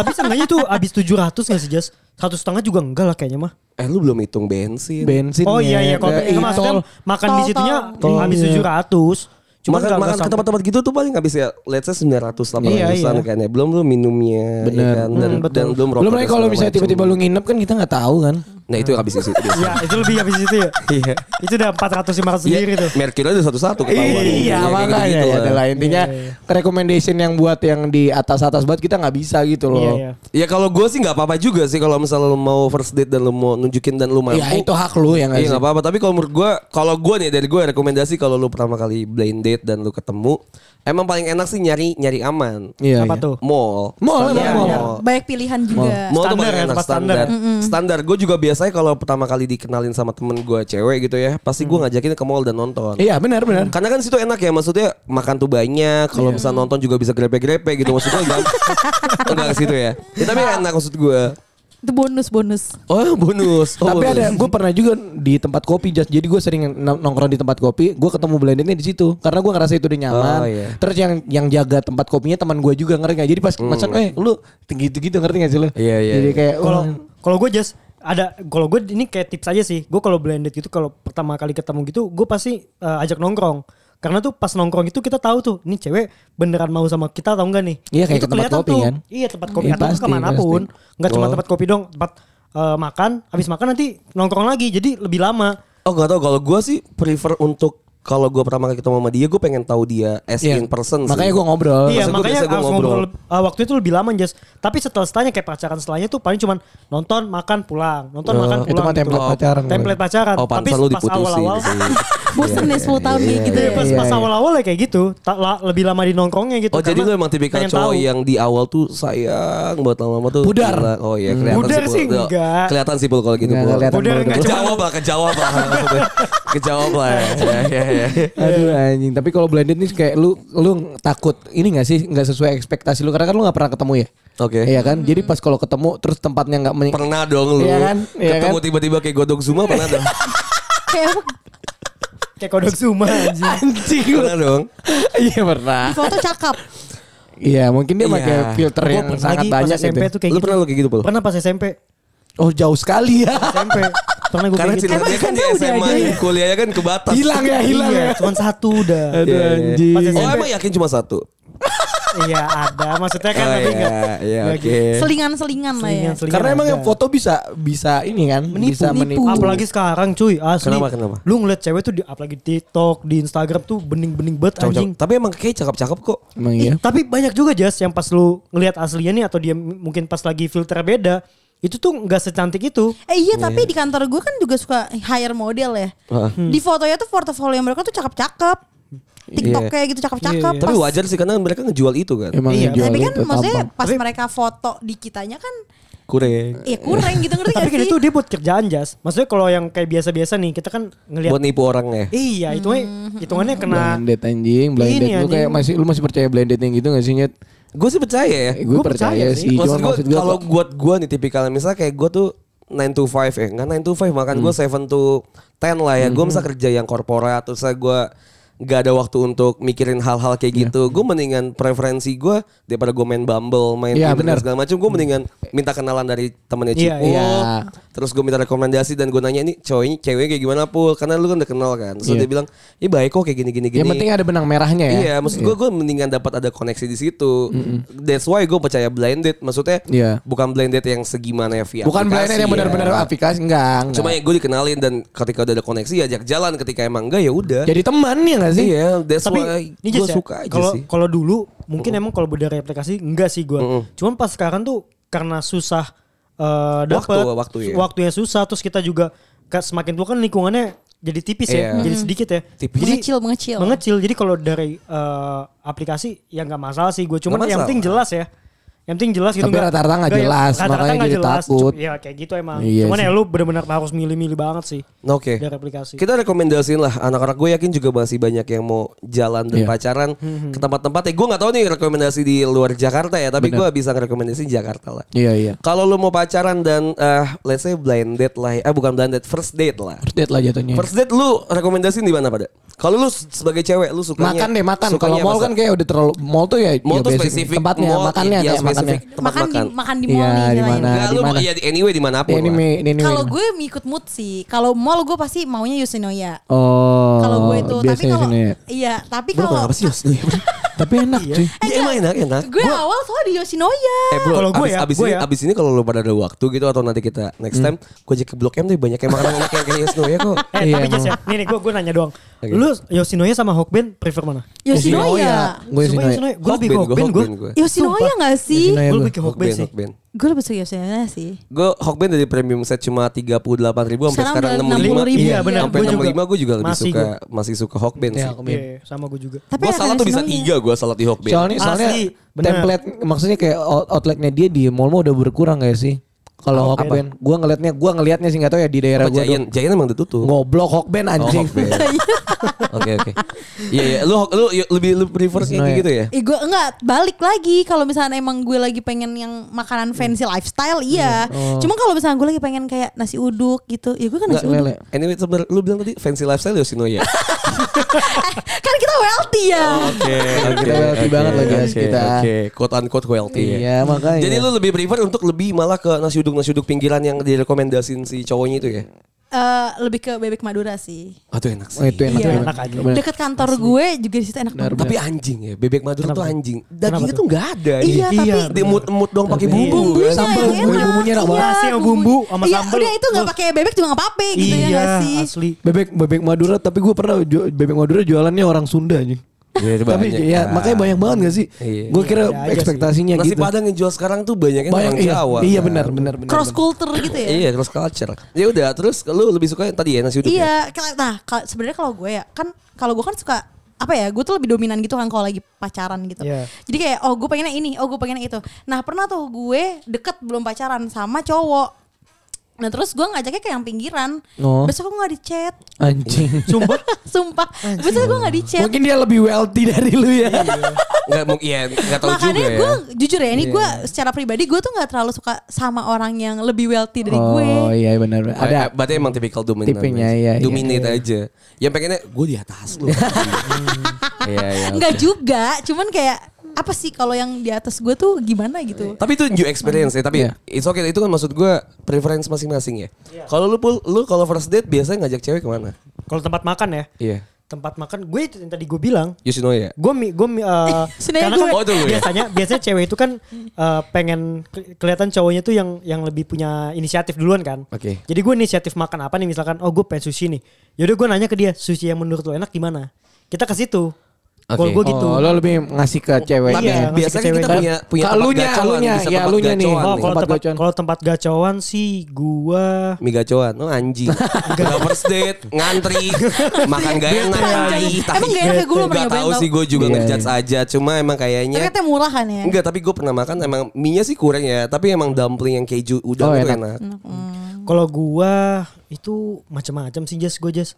Tapi seenggaknya itu abis 700 gak sih Jas? Satu setengah juga enggak lah kayaknya mah.
Eh lu belum hitung bensin.
Bensin.
Oh iya iya kalau
kayak gitu,
itu maksudnya
tol.
makan di
Tol,
situnya
tol.
habis
Iya.
700. Cuma
makan, makan ke tempat-tempat gitu tuh paling habis ya let's say 900 800-an
Iya, iya.
kan ya. Belum belum minumnya
Bener.
ya kan? dan,
Hmm, betul.
dan belum rokok.
Belum lagi
dan
kalau
segala
misalnya
macam.
tiba-tiba lu nginep kan kita nggak tahu kan.
Nah, itu habis isi itu.
Iya, itu lebih habis itu ya.
Iya.
Itu udah 400 500 sendiri tuh.
Merkilo udah Iya, satu-satu ketahuan.
Iya makanya ya adalah intinya
Iya,
recommendation yang buat yang di atas-atas banget kita nggak bisa gitu
Iya,
loh.
iya.
Ya kalau gue sih nggak apa-apa juga sih kalau misalnya lu mau first date dan lu mau nunjukin dan lu mampu.
Ya itu hak lu yang
Iya
nggak
nggak
sih.
apa-apa. Tapi kalau menurut gue, kalau gue nih dari gue rekomendasi kalau lu pertama kali blind date dan lu ketemu, emang paling enak sih nyari nyari aman.
Iya.
Apa
iya.
tuh?
Mall.
Mall,
Standar
emang
mall.
mall.
Banyak pilihan juga.
Mall tuh
Standar
paling
ya,
enak
tempat standar.
standar. Standar. Gue juga biasanya kalau pertama kali dikenalin sama temen gue cewek gitu ya, pasti gue ngajakin ke mall dan nonton.
Iya benar benar.
Karena kan situ enak ya, maksudnya makan tuh banyak, kalau bisa nonton juga bisa grepe-grepe gitu maksudnya enggak. enggak ke situ ya. ya. Tapi enak maksud gue.
Itu bonus-bonus.
Oh, bonus. Oh,
Tapi ada,
bonus.
gue pernah juga di tempat kopi, Jas. jadi gue sering n- nongkrong di tempat kopi, gue ketemu blendednya di situ, karena gue ngerasa itu udah nyaman.
Oh, iya. Hmm.
Terus yang yang jaga tempat kopinya teman gue juga ngerti nggak? Jadi pas macan, eh lu tinggi gitu gitu ngerti nggak sih lu?
Iya, iya,
Jadi
iya.
kayak
Kalau
oh,
kalau gue just ada kalau gue ini kayak tips aja sih. Gue kalau blended gitu kalau pertama kali ketemu gitu gue pasti eh, ajak nongkrong. Karena tuh pas nongkrong itu kita tahu tuh, ini cewek beneran mau sama kita atau enggak nih?
Iya, kayak
Itu
ke tempat
kelihatan
kopi
tuh.
kan?
Iya tempat kopi
Iya,
atau
pasti,
kemanapun, nggak cuma
Oh.
tempat kopi dong, tempat eh, makan. Habis makan nanti nongkrong lagi, jadi lebih lama.
Oh gak tau kalau gue sih prefer untuk kalau gue pertama kali ketemu sama dia gue pengen tahu dia as
Iya.
in person
Makanya
sih.
gue ngobrol.
Iya
Maksud gua
makanya
biasa gua
harus
ngobrol.
ngobrol, leb- ah, waktu itu lebih lama Jas. Tapi setelah setelahnya kayak pacaran setelahnya tuh paling cuman nonton makan pulang, nonton
Oh,
makan
itu
pulang.
mah
gitu.
template
Oh,
pacaran.
Template pacaran.
Oh
Tapi
pantesan lu
pas
diputusin
awal-awal,
sih.
Bosen deh 10 tahun nih gitu
Iya,
ya.
pas
Iya,
pas
iya.
awal-awal ya kayak gitu, tak la- lebih lama di nongkrongnya gitu.
Oh jadi
karena
lu emang tipikal
pengen
cowok iya.
tahu.
yang di awal tuh sayang buat lama-lama tuh
Pudar.
gila. Oh iya kelihatan
Pudar
Pul.
sih
Tuh,
enggak.
Kelihatan sih Pul, kalau gitu
Enggak,
Pul.
kelihatan
Pudar
banget.
enggak.
Kejawab lah Kejawab lah maksudnya. Kejawab lah ya. Ya, ya, ya.
Aduh anjing, tapi kalau blended nih kayak lu lu takut ini gak sih nggak sesuai ekspektasi lu karena kan lu nggak pernah ketemu ya.
Oke
Iya kan? Jadi pas kalau ketemu terus tempatnya nggak men-
Pernah dong lu
Iya kan? Iya
Ketemu
kan?
tiba-tiba kayak godok Zuma pernah dong
Kayak apa?
kayak kodok Zuma anjing.
anjing. lu.
Pernah dong
Iya pernah.
Di foto cakep.
Iya, mungkin dia
Iya.
pakai filter
Gua
yang
pernah
sangat
lagi pas
banyak
SMP
gitu.
tuh kayak
Lu
gitu.
pernah lu kayak gitu Pul?
Pernah pas SMP.
Oh, jauh sekali ya.
SMP. Pernah gue
Karena
kayak gitu.
cerita dia kan di
Emang SMP
SMA
udah aja
Kuliahnya kan ke batas
hilang ya, hilang
Iya,
ya.
cuman satu udah.
Aduh
Iya, iya.
anjing.
Pas
Oh
SMP.
emang yakin cuma satu?
Iya, ada. Maksudnya kan
Oh
tapi
iya
enggak.
Iya
Nggak
oke
Selingan-selingan lah ya.
Selingan-selingan
Karena emang
ada.
yang foto bisa bisa ini kan, bisa Iya, menipu.
Apalagi sekarang cuy, asli.
Kenapa, kenapa?
Lu ngeliat cewek tuh di apalagi di TikTok, di Instagram tuh bening-bening banget
Cakep-cakep.
anjing.
Tapi emang kayak cakep-cakep kok
Emang
Ih,
iya.
tapi banyak juga Jas yang pas lu ngelihat aslinya nih atau dia m- mungkin pas lagi filter beda, itu tuh nggak secantik itu.
Eh iya tapi di kantor gue kan juga suka hire model ya.
Heeh.
Di fotonya tuh portofolio mereka tuh cakep-cakep. TikTok kayak gitu cakep-cakep.
Tapi
Pas-
wajar sih karena mereka ngejual itu kan
Emang
Iya,
ngejual
tapi kan
itu
maksudnya
tampang.
pas
Tapi-
mereka foto di kitanya kan
Kurang
ya kurang gitu ngerti
Tapi
gak
kan
sih?
itu dia buat kerjaan Jas. Maksudnya kalau yang kayak biasa-biasa nih, kita kan ngelihat
Buat Hmm. Nah, nipu orang ya
Iya, itu hitungannya kena
blended anjing, blended.
Ini
Lu kayak
anjing.
masih lu masih percaya blended yang gitu gak sih, Nyet?
Gue sih percaya ya
Eh, gue
Gua percaya
percaya
sih.
sih, cuma
maksud gue
maksud gue
kalau buat gue nih tipikalnya misalnya kayak gue tuh 9 to 5 ya nggak 9 to 5 bahkan gue
Hmm.
7 to 10 lah ya gue bisa kerja yang korporat terus gue nggak ada waktu untuk mikirin hal-hal kayak
Iya.
gitu gue mendingan preferensi gue daripada gue main bumble main
Iya,
Tinder dan
benar.
segala macam gue mendingan minta kenalan dari temennya
Iya,
Cipul
iya.
terus gue minta rekomendasi dan gue nanya ini cowoknya ceweknya kayak gimana pul karena lu kan udah kenal kan so
Iya.
dia bilang ya baik kok kayak gini gini gini
yang penting ada benang merahnya ya.
Iya, maksud gue gue mendingan dapat ada koneksi di situ. That's why gue percaya blended. Maksudnya
Iya.
bukan blended yang segimana ya via
Bukan blended
aplikasi
yang
ya.
benar-benar aplikasi enggak. enggak.
Cuma ya gue dikenalin dan ketika udah ada koneksi ya ajak jalan. Ketika emang enggak ya udah.
jadi teman ya gak sih?
Iya, that's
tapi
why
ini
gue
Jas ya,
suka aja
kalau
sih.
kalau dulu mungkin emang kalau dari aplikasi enggak sih gue cuman pas sekarang tuh karena susah eh dapat
Waktu- waktu ya.
waktunya susah terus kita juga ka- semakin tua kan lingkungannya jadi tipis ya
Iya.
jadi sedikit ya
Tipis.
Jadi,
Mengecil, mengecil.
mengecil jadi kalau dari eh, aplikasi ya nggak masalah sih gue cuman
Nggak
yang penting jelas ya yang penting jelas gitu
Tapi
nggak-
rata-rata nggak
nggak-
jelas,
rata-rata
makanya
nggak
jadi
jelas.
takut.
Cuma- ya kayak gitu emang
Iya
cuman
sih.
ya lu benar-benar harus milih-milih banget sih
Nah, Oke.
dari aplikasi
Kita rekomendasiin lah anak-anak gue yakin juga masih banyak yang mau jalan dan
Iya.
pacaran ke tempat-tempat ya gue nggak tahu nih rekomendasi di luar Jakarta ya tapi gue bisa ngerekomendasiin Jakarta lah.
Iya, iya.
Kalau lu mau pacaran dan eh, let's say blended lah, ya. eh bukan blended, first date lah.
First date lah jatuhnya.
First date lu rekomendasi di mana pada? Kalau lu sebagai cewek lu sukanya
makan deh makan.
sukanya
Kalau
apa,
mall
Sa?
kan kayak udah terlalu mall tuh ya
mall
ya
tuh
basic.
spesifik
tempatnya
mall,
makannya
iya,
kayak makannya.
spesifik tempat
makan,
makan.
Di, makan di
Iya,
mall nih
di
istilahnya.
mana?
Enggak, lu
di mana?
ya anyway dimanapun.
Iya, Ini
lah. Iya,
ini ini.
Kalau gue ngikut mood sih. Kalau mall gue pasti maunya Yoshinoya.
Oh.
kalau gue itu tapi
biasanya
kalau
sini ya.
iya, tapi
Bro,
kalau
kenapa sih Yos? Iya, bro.
Tapi enak cuy.
Iya, emang enak, enak.
gue awal soalnya di Yoshinoya.
Eh bro,
Kalau gue
abis,
ya,
abis
gue
ini,
ya.
abis ini kalau lu pada ada waktu gitu atau nanti kita next
Hmm.
time, gue ajak ke Blok M deh banyak yang makanan enak yang kayak Yosno ya kok.
Eh
Iya,
tapi
emang.
Jas ya, nih nih gue gue nanya doang.
Oke.
Lu Yoshinoya sama Hokben prefer mana?
Yoshinoya.
Gue
Sumpah
sini.
Gue lebih ke
Hokben,
Hokben
gue
gue.
Hokben gue.
Yoshinoya gak sih?
Yoshinoya.
Gue
Gue.
lebih ke Hokben
Hokben,
sih.
Hokben.
Gue lebih suka Yoshinoya sih.
Gue Hokben dari premium set cuma 38.000 sampai
Sekarang
sekarang
udah
65.
60.000,
Iya, benar.
Sampai
Gue juga.
65 gue juga lebih
Masih
suka masih suka Hokben
Iya,
sih.
Hokben.
Iya, sama gue juga.
Tapi
Gue
enakan
salah tuh bisa
Yoshinoya.
tiga gue salah di Hokben.
Soalnya soalnya
Asli, bener.
template maksudnya kayak out- outletnya dia di mall mall udah berkurang gak sih? Kalau Hokben, gue ngelihatnya, gue ngelihatnya sih nggak tahu ya di daerah
Apa
gue.
Giant? Giant emang ditutup.
Ngoblok Hokben anjing.
Oh, Hokben.
Iya.
Oke oke. Iya iya. Lu lu y- lebih lu prefer kayak
Senoi.
gitu ya?
Eh gue enggak balik lagi kalau misalnya emang gue lagi pengen yang makanan fancy lifestyle iya. Cuma kalau misalnya gue lagi pengen kayak nasi uduk gitu, ya gue kan
Nasi
nasi uduk.
lele.
Anyway, sebentar lu bilang tadi fancy lifestyle Yoshino ya.
Kan kita wealthy ya.
Oke,
Kita wealthy banget loh, guys, kita.
Oke, quote unquote wealthy. ya.
Iya, makanya.
Jadi lu lebih prefer untuk lebih malah ke nasi uduk nasi uduk pinggiran yang direkomendasiin si cowoknya itu ya?
eh, lebih ke bebek Madura sih.
Ah, tuh enak
Oh,
sih.
itu enak.
Iya.
Enak aja.
Bener.
Dekat kantor gue juga di situ enak
Benar,
banget.
benar.
Tapi anjing ya, bebek Madura
Kenapa
tuh
tuh?
anjing.
Kenapa
Dagingnya
tuh?
tuh nggak ada.
Iya,
nih.
tapi-
diemut-emut doang pakai
Tapi-
bumbu.
Bumbunya
Sambel,
yang enak.
bumbunya enak banget.
Nasi sama bumbu, sama
Iya,
sambel.
udah itu nggak pakai bebek juga nggak apa-apa gitu ya nggak
Iya,
sih.
asli.
Bebek bebek Madura tapi gue pernah ju- bebek Madura jualannya orang Sunda anjing.
Iya, itu
tapi
banyak.
ya makanya banyak banget gak sih?
Iya.
Gue kira
Iya, ada aja
ekspektasinya
Nasi
gitu.
Padang yang jual sekarang tuh banyaknya
banyak
orang
iya,
Jawa.
iya
kan.
benar benar benar.
Cross
benar.
culture gitu ya.
Iya, cross culture. Ya udah, terus lu lebih suka yang tadi ya nasi uduk. ya?
Iya, kela- nah kal- sebenarnya kalau gue ya kan kalau gue kan suka apa ya gue tuh lebih dominan gitu kan kalau lagi pacaran gitu
Iya.
jadi kayak oh gue pengennya ini oh gue pengennya itu nah pernah tuh gue deket belum pacaran sama cowok nah terus gue ngajaknya ke yang pinggiran
Oh.
besok aku nggak di chat
Anjing.
Sumpah.
sumpah besok gue nggak di chat
Mungkin dia lebih wealthy dari lu ya.
Iya,
Enggak mungkin ya, enggak tahu juga
makanya
ya.
gue jujur ya ini gue secara pribadi gue tuh nggak terlalu suka sama orang yang lebih wealthy dari gue
Oh iya benar. benar. Ada
Ada Eh, berarti emang tipikal dominan.
Tipenya, iya, iya.
Dominate aja. Yang pengennya gue di atas lu. Iya, iya.
nggak juga cuman kayak apa sih kalau yang di atas gue tuh gimana gitu
Tapi itu new experience ya, tapi
Iya.
it's okay. Itu kan maksud gue preference masing-masing ya.
Iya.
Kalau lu Pul, lu kalau first date biasanya ngajak cewek kemana?
Kalau tempat makan ya.
Iya.
Tempat makan gue itu yang tadi gue bilang.
Yoshinoya.
Gue mi, gue mi, eh,
Sebenarnya
karena
gue-
kan
Oh, itu lu ya?
biasanya biasanya cewek itu kan
Hmm.
eh, pengen ke- kelihatan cowoknya tuh yang yang lebih punya inisiatif duluan kan.
Oke.
Jadi gue inisiatif makan apa nih misalkan oh gue pengen sushi nih. Yaudah gue nanya ke dia sushi yang menurut lo enak di mana? Kita ke situ.
Oke.
Kalau gue gitu.
Oh, lo lebih ngasih ke
Tapi
ceweknya.
biasanya
Iya.
kan
ngasih ke
kita
cewek.
punya punya
Ke
tempat
elunya,
gacoan,
elunya.
bisa
Iya,
tempat
elunya nih.
gacoan
Oh,
Nih,
kalau
tempat
tempat
gacoan.
kalau tempat gacoan sih gua
Mie gacoan, oh anjing. Gak first date, ngantri, makan gak enak
gitu.
tai,
Emang
tai.
gak enak ya? Gua belum pernah
Gak tahu
nyobain
sih gue juga
Iya,
ngejudge
iya.
aja, cuma emang kayaknya
ternyata murah kan ya
Enggak, tapi gue pernah makan emang mie-nya sih kurang ya, tapi emang dumpling yang keju
Oh,
udang itu
enak.
enak.
Hmm.
kalau gua itu macam-macam sih Jas gue Jas.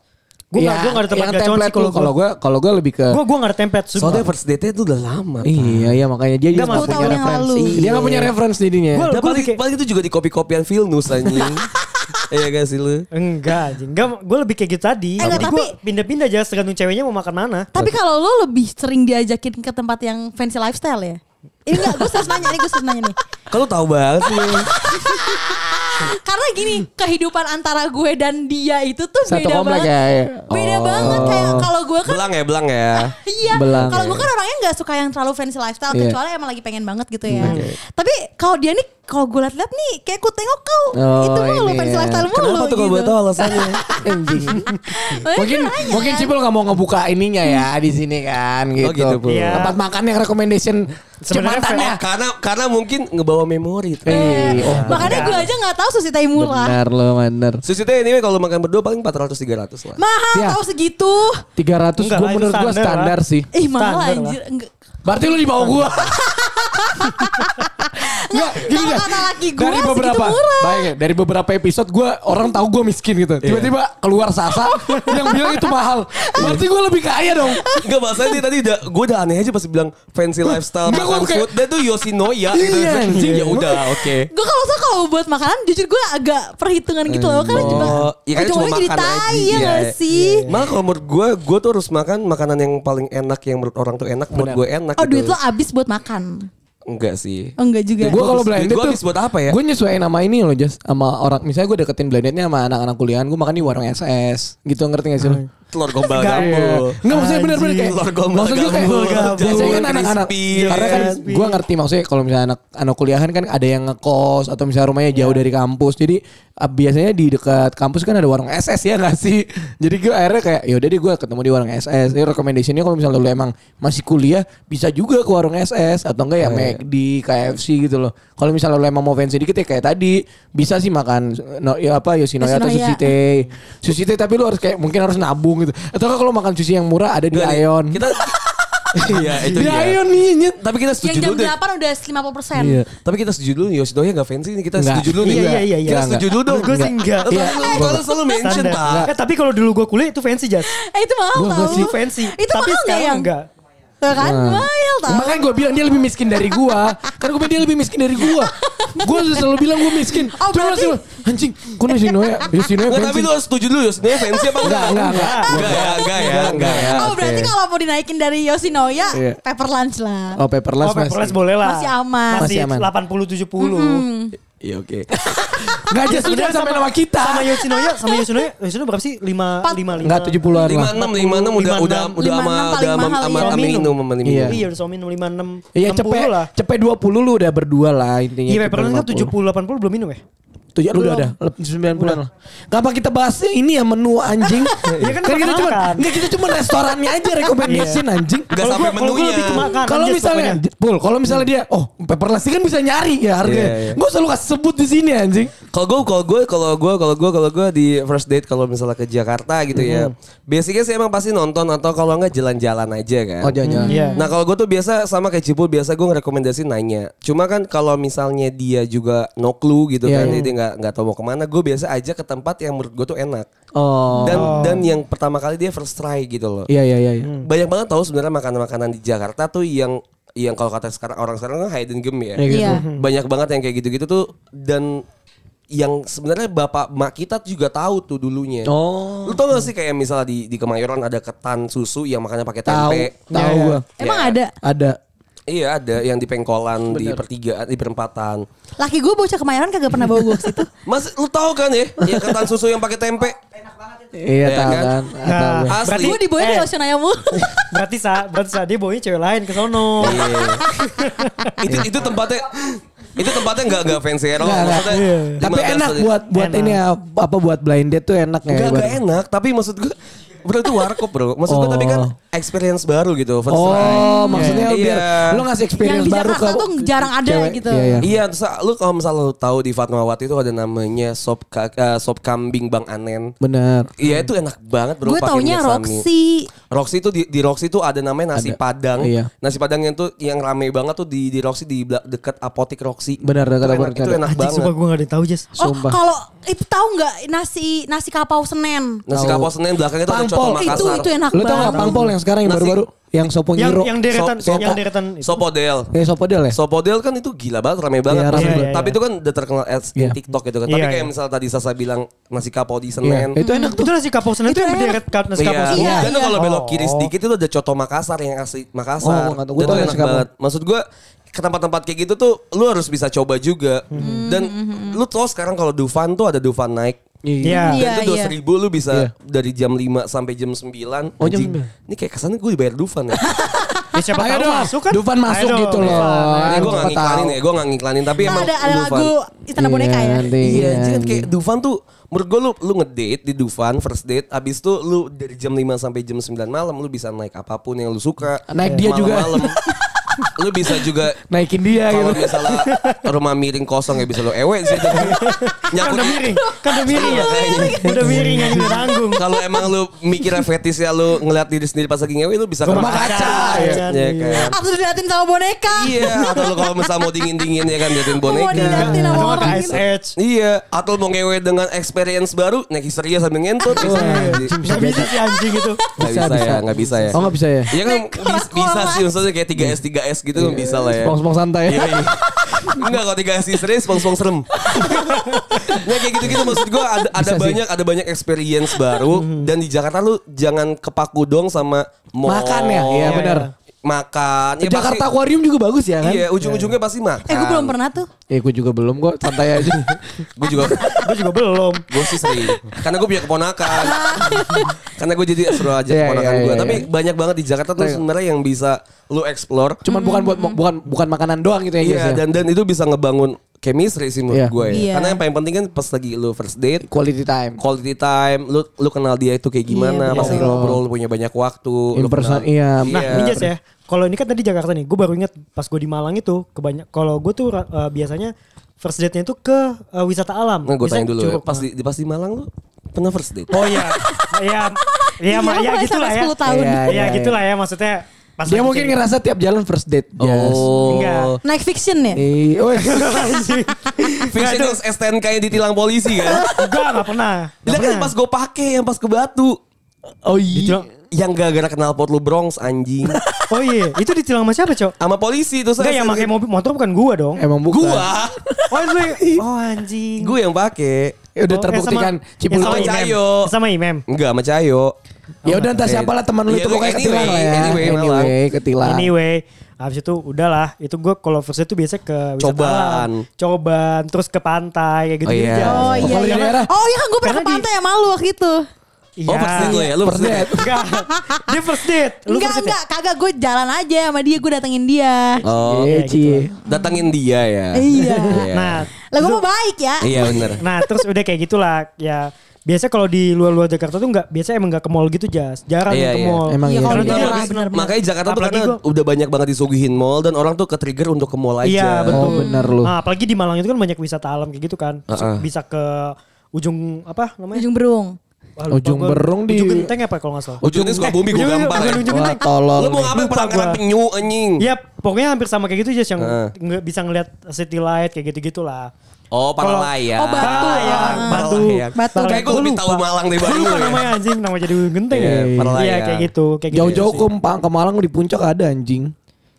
Gue
Iya,
gak gue gak ada tempat
yang
gacoan sih
template
kalau
lu. kalau
gua.
gue kalau gue lebih ke
Gue gue gak ada template.
Soalnya first date-nya itu udah lama.
Iya, iya makanya dia
Nggak,
nggak
Mas.
punya
Tahun yang
referensi.
lalu.
Dia nggak punya referensi jadinya.
Iya. Gua-
Dan paling,
bikin-
paling itu juga di kopi-kopian Vilnus anjing. Iya gak sih lu?
Enggak, anjing. enggak. Gue lebih kayak gitu tadi.
Eh, enggak,
Jadi
tapi-
gue pindah-pindah aja tergantung ceweknya mau makan mana.
Tapi kalau lo lebih sering diajakin ke tempat yang fancy lifestyle ya? Ini enggak, gue serius nanya, ini gue serius nanya nih.
Kalau tahu banget sih.
Karena gini, kehidupan antara gue dan dia itu tuh
Satu
beda
komplek
banget.
ya, ya.
Beda
Oh.
banget kayak kalau gue kan
belang ya, belang ya.
Iya,
Belang,
kalau gue
ya.
kan orangnya nggak suka yang terlalu fancy lifestyle,
Iya. Hmm,
kecuali emang lagi pengen banget gitu ya. Tapi kalau dia nih, kalau gue liat-liat nih, kayak ku tengok kau
Oh,
itu mulu
ini
fancy
ya.
lifestyle mulu.
Kenapa tuh kalau
gitu.
gue tahu alasannya?
Anjing.
Makanya
mungkin
gue nanya. kan?
mungkin Cipul nggak mau ngebuka ininya ya di sini kan gitu.
Oh, gitu, Bu.
Iya.
Tempat makan yang recommendation
Sebenarnya
jembatannya.
karena karena mungkin ngebawa memori. tuh.
Eh, oh,
Makanya gue aja nggak tahu susi tai murah.
benar lo benar.
Susi teh anyway kalau makan berdua paling 400 300 lah.
Mahal
Iya.
tahu segitu.
300 gue
Enggak lah, itu
menurut gue standar
standar lah.
sih.
Ih Eh, mahal
Standar lah.
anjir. Enggak.
Berarti lu di bawah gue. Enggak, gini
Kalau
deh.
kata laki gue
dari
segitu
beberapa
murah.
bayangin ya, dari beberapa episode gue orang tahu gue miskin gitu
Iya.
tiba-tiba keluar sasa yang bilang itu mahal berarti gue lebih kaya dong
Enggak bahasanya dia tadi udah gue udah aneh aja pas bilang fancy lifestyle
Enggak,
makan
gua kayak-
food dan tuh Yoshinoya gitu.
Iya, anjing.
ya udah oke.
Gue kalau suka kalau buat makanan jujur gue agak perhitungan gitu loh karena juga
Oh, iya kan cuma
ujung-ujungnya jadi
makan aja. Iya,
tai, ya nggak sih.
Malah kalau menurut gue, gue tuh harus makan makanan yang paling enak yang menurut orang tuh enak, menurut gue enak.
Oh duit
gitu.
lo habis buat makan.
Enggak sih.
Oh, enggak juga.
gue kalau
habis-
blended
duit Iya, gua
tuh
habis buat apa ya?
gue nyesuaiin sama ini loh Jas sama orang misalnya gue deketin blendednya sama anak-anak kuliahan gue makan di warung SS gitu ngerti gak sih lo
Telur gombal
Enggak,
gambul.
Enggak maksudnya bener-bener kayak
Telur gombal
Maksud gue kayak
gambul,
Biasanya kan
jabul,
anak-anak
crispy,
Karena kan
crispy.
gue ngerti maksudnya Kalau misalnya anak anak kuliahan kan Ada yang ngekos Atau misalnya rumahnya jauh dari kampus Jadi eh, biasanya di dekat kampus kan ada warung SS ya gak sih Jadi gue akhirnya kayak Yaudah deh gue ketemu di warung SS Ini recommendation-nya kalau misalnya lu emang Masih kuliah Bisa juga ke warung SS Atau enggak ya McD KFC gitu loh Kalau misalnya lu emang mau fancy dikit ya Kayak tadi Bisa sih makan eh, no, ya apa Yoshinoya atau
Yoshinoya.
Sushi Tei Sushi Tei tapi lu harus kayak Mungkin harus nabung gitu Atau enggak kalau makan sushi yang murah Ada di
Enggak, nih.
Aeon
Kita Iya, itu
di
dia.
Aeon nih nyet.
Tapi kita
Yang
setuju
jam
dulu deh.
8 udah 50 persen.
Tapi kita setuju dulu Yoshinoya gak fancy nih. Kita
Enggak.
setuju dulu nih.
Iya, iya, iya, iya.
Kita
Enggak,
setuju dulu dong.
Menurut gua sih enggak.
Lu
Iya.
selalu- Selalu selalu mention, Pak.
Standar. Eh, tapi kalau dulu gue kuliah itu fancy jas.
Eh itu mahal
Gua
tau.
nggak sih.
Fancy.
Itu
tapi
mahal nggak
sekarang
yang?
enggak. Nah.
Tuh kan mahal tau.
Makanya gue bilang dia lebih miskin dari gua. kan gue bilang dia lebih miskin dari gua. gue selalu bilang gue miskin.
Oh,
Cuma
berarti-
masih anjing, kok Ya, Yoshinoya, Yoshinoya
Enggak, tapi
bensin.
lu harus setuju dulu Yoshinoya fancy apa enggak?
Enggak, enggak, enggak.
Enggak ya, enggak ya, enggak ya.
Oh berarti
Oke.
kalau mau dinaikin dari Yoshinoya,
Iya.
paper lunch lah.
Oh, paperless
Oh, paperless boleh lah.
Masih aman. Hmm.
Masih,
Masih aman.
80 70.
Iya oke.
Enggak aja sebenarnya sama nama kita.
Sama Yoshinoya, sama Yoshinoya, Yoshinoya berapa sih? 5 5
Enggak 70-an
Lima
lah.
enam, lima enam udah udah
56.
udah sama udah
56 paling
sama
mahal,
sama
iya.
sama minum sama minum.
Iya.
Iya, Somin 56
Iya
60
cepet
lah.
cepet 20 lu udah berdua lah intinya.
Iya, Pepperland kan 70 80 belum minum ya?
Tujuh lu udah ada lep- 90-an lah. Kenapa kita bahas ini ya menu anjing?
Iya, kan
kita
makan.
cuma enggak kita cuma restorannya aja recommendation anjing.
Enggak
Kalau
sampai
gua- kalau gua
menunya.
lebih ke makan,
Kalau
anjir,
misalnya
pokoknya.
Pul, kalau misalnya dia oh paperless kan bisa nyari ya
Iya, iya.
harganya. Gue selalu kasih sebut di sini anjing.
Kalau gue, kalau gue, kalau gue, kalau gue, kalau gue di first date kalau misalnya ke Jakarta gitu ya. Basicnya sih emang pasti nonton atau kalau enggak jalan-jalan aja kan.
Oh jangan.
Iya.
Nah kalau gue tuh biasa sama kayak Cipul biasa gue ngerekomendasi nanya. Cuma kan kalau misalnya dia juga no clue gitu
Iya,
kan,
iya.
jadi nggak nggak tahu mau kemana. Gue biasa ajak ke tempat yang menurut gue tuh enak.
Oh.
Dan dan yang pertama kali dia first try gitu loh.
Iya iya iya. iya.
Banyak banget tahu sebenarnya makanan-makanan di Jakarta tuh yang yang kalau kata sekarang orang sekarang kan hidden gem ya.
Iya, gitu.
Iya.
Banyak banget yang kayak gitu-gitu tuh dan yang sebenarnya bapak mak kita juga tahu tuh dulunya.
Oh.
Lu tau gak sih kayak misalnya di, di Kemayoran ada ketan susu yang makannya pakai
Tahu
tempe.
tahu
Iya, iya.
gua.
Emang
Ya.
ada
Ada.
Iya ada yang di pengkolan di pertigaan di perempatan.
laki gue bocah kemayoran kagak pernah bawa gue ke situ.
Mas lu tahu kan ya, yang ketan susu yang pakai tempe.
Iya
Iya
tahu
kan?
kan.
Nah,
Tahu gua.
Asli.
Gue dibawa di
Eh.
Yoshinoya mulu.
Berarti sa, berarti sa dia bawanya cewek lain ke sono.
Iya. itu itu tempatnya itu tempatnya nggak nggak fancy at all.
Nggak, nggak.
Maksudnya
Iya.
15
Tapi enak
menit.
buat buat
Enak.
ini ya, apa buat blind date tuh enak ya.
Enggak,
buat-
enggak enak, tapi maksud gue Bro itu warkop bro Maksud gue tapi kan
Oh.
experience baru gitu first
Oh,
try.
maksudnya
Iya.
biar lu ngasih experience
Yang di
baru ke
Jakarta tuh jarang ada gitu.
Iya, iya.
Iya, terus lu kalau misalnya lu tahu di Fatmawati itu ada namanya sop ka- eh, sop kambing Bang Anen.
Benar.
Iya itu enak banget bro.
Gue
pakai minyak
taunya
sami.
Roxy.
Roxy itu di, di Roxy itu ada namanya
Ada.
nasi padang.
Iya.
Nasi padang yang tuh yang rame banget tuh di di Roxy di bela- dekat apotik Roxy.
Benar, dekat
Itu enak-
apotek
Itu
ada.
enak
Anjing
banget.
sumpah gue gak ada yang tahu Jess.
Oh,
Sumpah.
kalau itu tahu nggak nasi nasi kapau Senen?
Tahu.
Nasi kapau Senen belakangnya tuh ada coto
Pangpol.
Makassar.
Itu itu enak
Lu tau
banget.
gak pangpol yang sekarang yang
Nasi-
baru-baru? Yang sopo
Yang
nyiro.
yang deretan,
Sop-
yang
sopo-
deretan. itu.
Sopodel.
Kayak sopo del ya?
Sopodel kan itu gila banget rame banget.
Iya,
Mas.
rame banget.
Tapi itu kan udah terkenal ads di
Iya.
TikTok gitu kan.
Iya,
Tapi kayak
iya.
misalnya tadi Sasa bilang nasi kapau di
Iya,
Senen.
Itu enak tuh.
Itu nasi kapau Senen itu yang berderet kap- nasi kapau Senen.
Iya,
Dan
iya.
kalau belok kiri
Oh.
sedikit itu ada coto Makassar yang asli Makassar.
Oh, gua nggak tahu. Gua
Dan
tahu
itu
nasi
enak
kapau.
banget. Maksud gue ke tempat-tempat kayak gitu tuh lu harus bisa coba juga.
Hmm.
Dan lu tau sekarang kalau Dufan tuh ada Dufan naik.
Iya.
Iya.
Dan itu 2000 lu bisa
Iya.
dari jam 5 sampai jam 9.
Oh, jam
Anjing,
9.
Ini kayak kesannya gue dibayar Dufan ya.
Ya siapa
Ayo
tahu
dong,
masuk kan.
Dufan
Ayo
masuk
dong,
gitu loh.
Dufan.
Ini gue gak
Siapa
ngiklanin
tahu.
ya, gue gak ngiklanin tapi
Nah,
emang
ada ada
Dufan.
lagu Istana Boneka ya.
nanti,
Iya, anjing kan
nanti.
kayak Dufan tuh menurut gue lu lu ngedate di Dufan first date abis itu lu dari jam 5 sampai jam 9 malam lu bisa naik apapun yang lu suka.
Naik dia juga.
Malam-malam. lu bisa juga
Naikin dia gitu.
kalau misalnya rumah miring kosong ya bisa lu ewe sih.
Kan
Nyakut
udah miring, kan udah miring ya.
Kayaknya.
Udah miring yang udah tanggung.
kalau emang lu mikirnya fetis ya lu ngeliat diri sendiri pas lagi ngewe lu bisa ke
Rumah
rumah
kaca,
Iya
iya.
iya kan.
Abis diliatin sama boneka.
Iya, atau lu kalau misalnya mau dingin-dingin ya kan jatuhin
Mau
boneka.
diliatin sama
Atau
orang
ke Ice
gitu.
Edge.
Iya, atau mau ngewe dengan experience baru, naik histeria sambil ngentut.
Iya.
Bisa,
Gak
Iya.
bisa sih anjing itu.
Gak bisa, ya, gak bisa ya.
Oh nggak bisa ya?
Iya kan
Naik
bis-
kerak
bisa
kerak.
sih, maksudnya kayak 3S, 3S gitu
Iya,
kan bisa lah ya.
Spong-spong santai.
Iya, iya. Enggak kalau 3S histeria, spong-spong serem. Nah kayak gitu-gitu maksud gue ada, ada
Bisa sih. Hmm.
banyak ada banyak experience baru dan di Jakarta lu jangan kepaku dong sama mall.
Makan ya? Iya
Iya,
benar.
Makan. Ya,
Jakarta
pasti,
Aquarium juga bagus ya kan?
Iya, ujung-ujungnya pasti makan.
Eh gue belum pernah tuh.
Eh gue juga belum kok, santai aja.
Gue juga
Gue juga belum.
Gue sih sering Karena gue punya keponakan Karena gue jadi suruh aja
Iya,
keponakan
iya,
gue
iya,
Tapi
iya.
banyak banget di Jakarta tuh sebenarnya yang bisa lu explore
Cuman bukan buat
Hmm.
bukan bukan makanan doang gitu ya guys
Iya
ya.
dan dan itu bisa ngebangun chemistry sih menurut
Iya.
gue ya
Iya.
Karena yang paling penting kan pas lagi lu first date
Quality time.
Quality time, lu lu kenal dia itu kayak gimana,
Iya,
pasti
betul.
ngobrol, lu punya banyak waktu,
In
lu
person,
kenal-
iya.
Nah, ini Jess ya. Kalau ini kan tadi Jakarta nih, gue baru inget pas gue di Malang itu kebanyak. Kalau gue tuh uh, biasanya first date-nya itu ke uh, wisata alam.
Nah, gue
Biasanya
tanya dulu, ya,
Curug.
pas di, pas di Malang lu pernah first date?
Oh iya, iya, iya,
Iya,
ma-
lu
iya,
mulai
gitulah
sampai
ya.
10 tahun.
Iya,
Iya, iya.
gitulah ya maksudnya. Pas
Dia
lagi
mungkin
kayak-
ngerasa tiap jalan first date. Jas.
Enggak.
Oh,
Naik fiction ya.
Eh, oh,
Anjing. Nggak,
Vision
itu-
STNK yang ditilang polisi kan?
Enggak, enggak pernah. Enggak
Dia kan
pernah.
pas gue pake yang pas ke Batu.
oh iya.
Ditilang-
yang gara-gara kenal pot lu Bronx anjing
Oh iya, itu ditilang sama siapa, Cok?
sama polisi itu
Enggak yang pakai mobil motor bukan gua dong.
Emang bukan.
gua
Oh, itu. Oh anjing.
gua yang pakai
Ya udah
Oh, eh,
terbuktikan
sama-
Cipul
eh, sama
Sama
Imem.
Cayo.
Sama Imem.
enggak sama Cayo
Ya udah entah siapa lah teman lu
Iya,
itu
lu
pokoknya
anyway,
ketilang lah ya.
anyway,
ketilang.
Anyway, habis itu udahlah. Itu gue kalau first itu biasa ke wisata
Cobaan.
alam. Cobaan, terus ke pantai kayak gitu.
Oh, iya.
Oh iya,
Kalau di
iya.
daerah-
Oh iya kan gue pernah ke
Karena di-
pantai sama lu waktu itu.
Oh first date lo ya Lu first date
Enggak. Iya. Dia first date. Lu
Enggak,
first date.
enggak, kagak gue jalan aja sama dia, gue datengin dia.
Oh
Iya,
gitu
Ci.
Datangin dia ya
Iya.
Nah,
Lah gue mau baik ya.
Iya bener
nah terus udah kayak gitulah ya. Biasa kalau di luar-luar Jakarta tuh enggak biasa emang enggak ke mall gitu, Jas. Jarang
Iya,
yang ke
iya.
mall.
Emang iya.
Iya, kalau
Karena
di
dia-
daerah.
benar-benar.
Makanya Jakarta tuh
Apalagi
karena
gua-
udah banyak banget disuguhin mall dan orang tuh ke trigger untuk ke mall aja.
Iya betul.
Oh, bener lu.
Nah, apalagi di Malang itu kan banyak wisata alam kayak gitu kan. Terus
Heeh.
Bisa ke ujung apa namanya?
Ujung berung.
Wah, lupa
Ujung
gua.
berung di-
Ujung genteng apa ya, kalau nggak salah.
Ujungnya suka bumi gue
Ujung-
gampang.
bukan
ya.
ujung
Wah
genteng.
tolol.
Lu mau
nih.
ngapain
Lupa
perangkat
gua.
penyu anjing?
Ya pokoknya hampir sama kayak gitu aja yang
Heeh.
nggak bisa ngelihat city light kayak gitu-gitu lah.
Oh,
Kalau-
Palalayan.
Oh, Batu.
Paralayang,
Ah.
Batu.
Paralayang.
Batu.
ya, Kayak gue
Gua
lebih
lupa.
tahu Malang dari
Gua
Bandung.
lupa
ya.
namanya anjing nama jadi ujung genteng
Iya,
ya.
Paralayang.
Iya kayak gitu, kayak gitu.
Jauh-jauh
sih.
ke Pang- ke Malang di puncak ada anjing.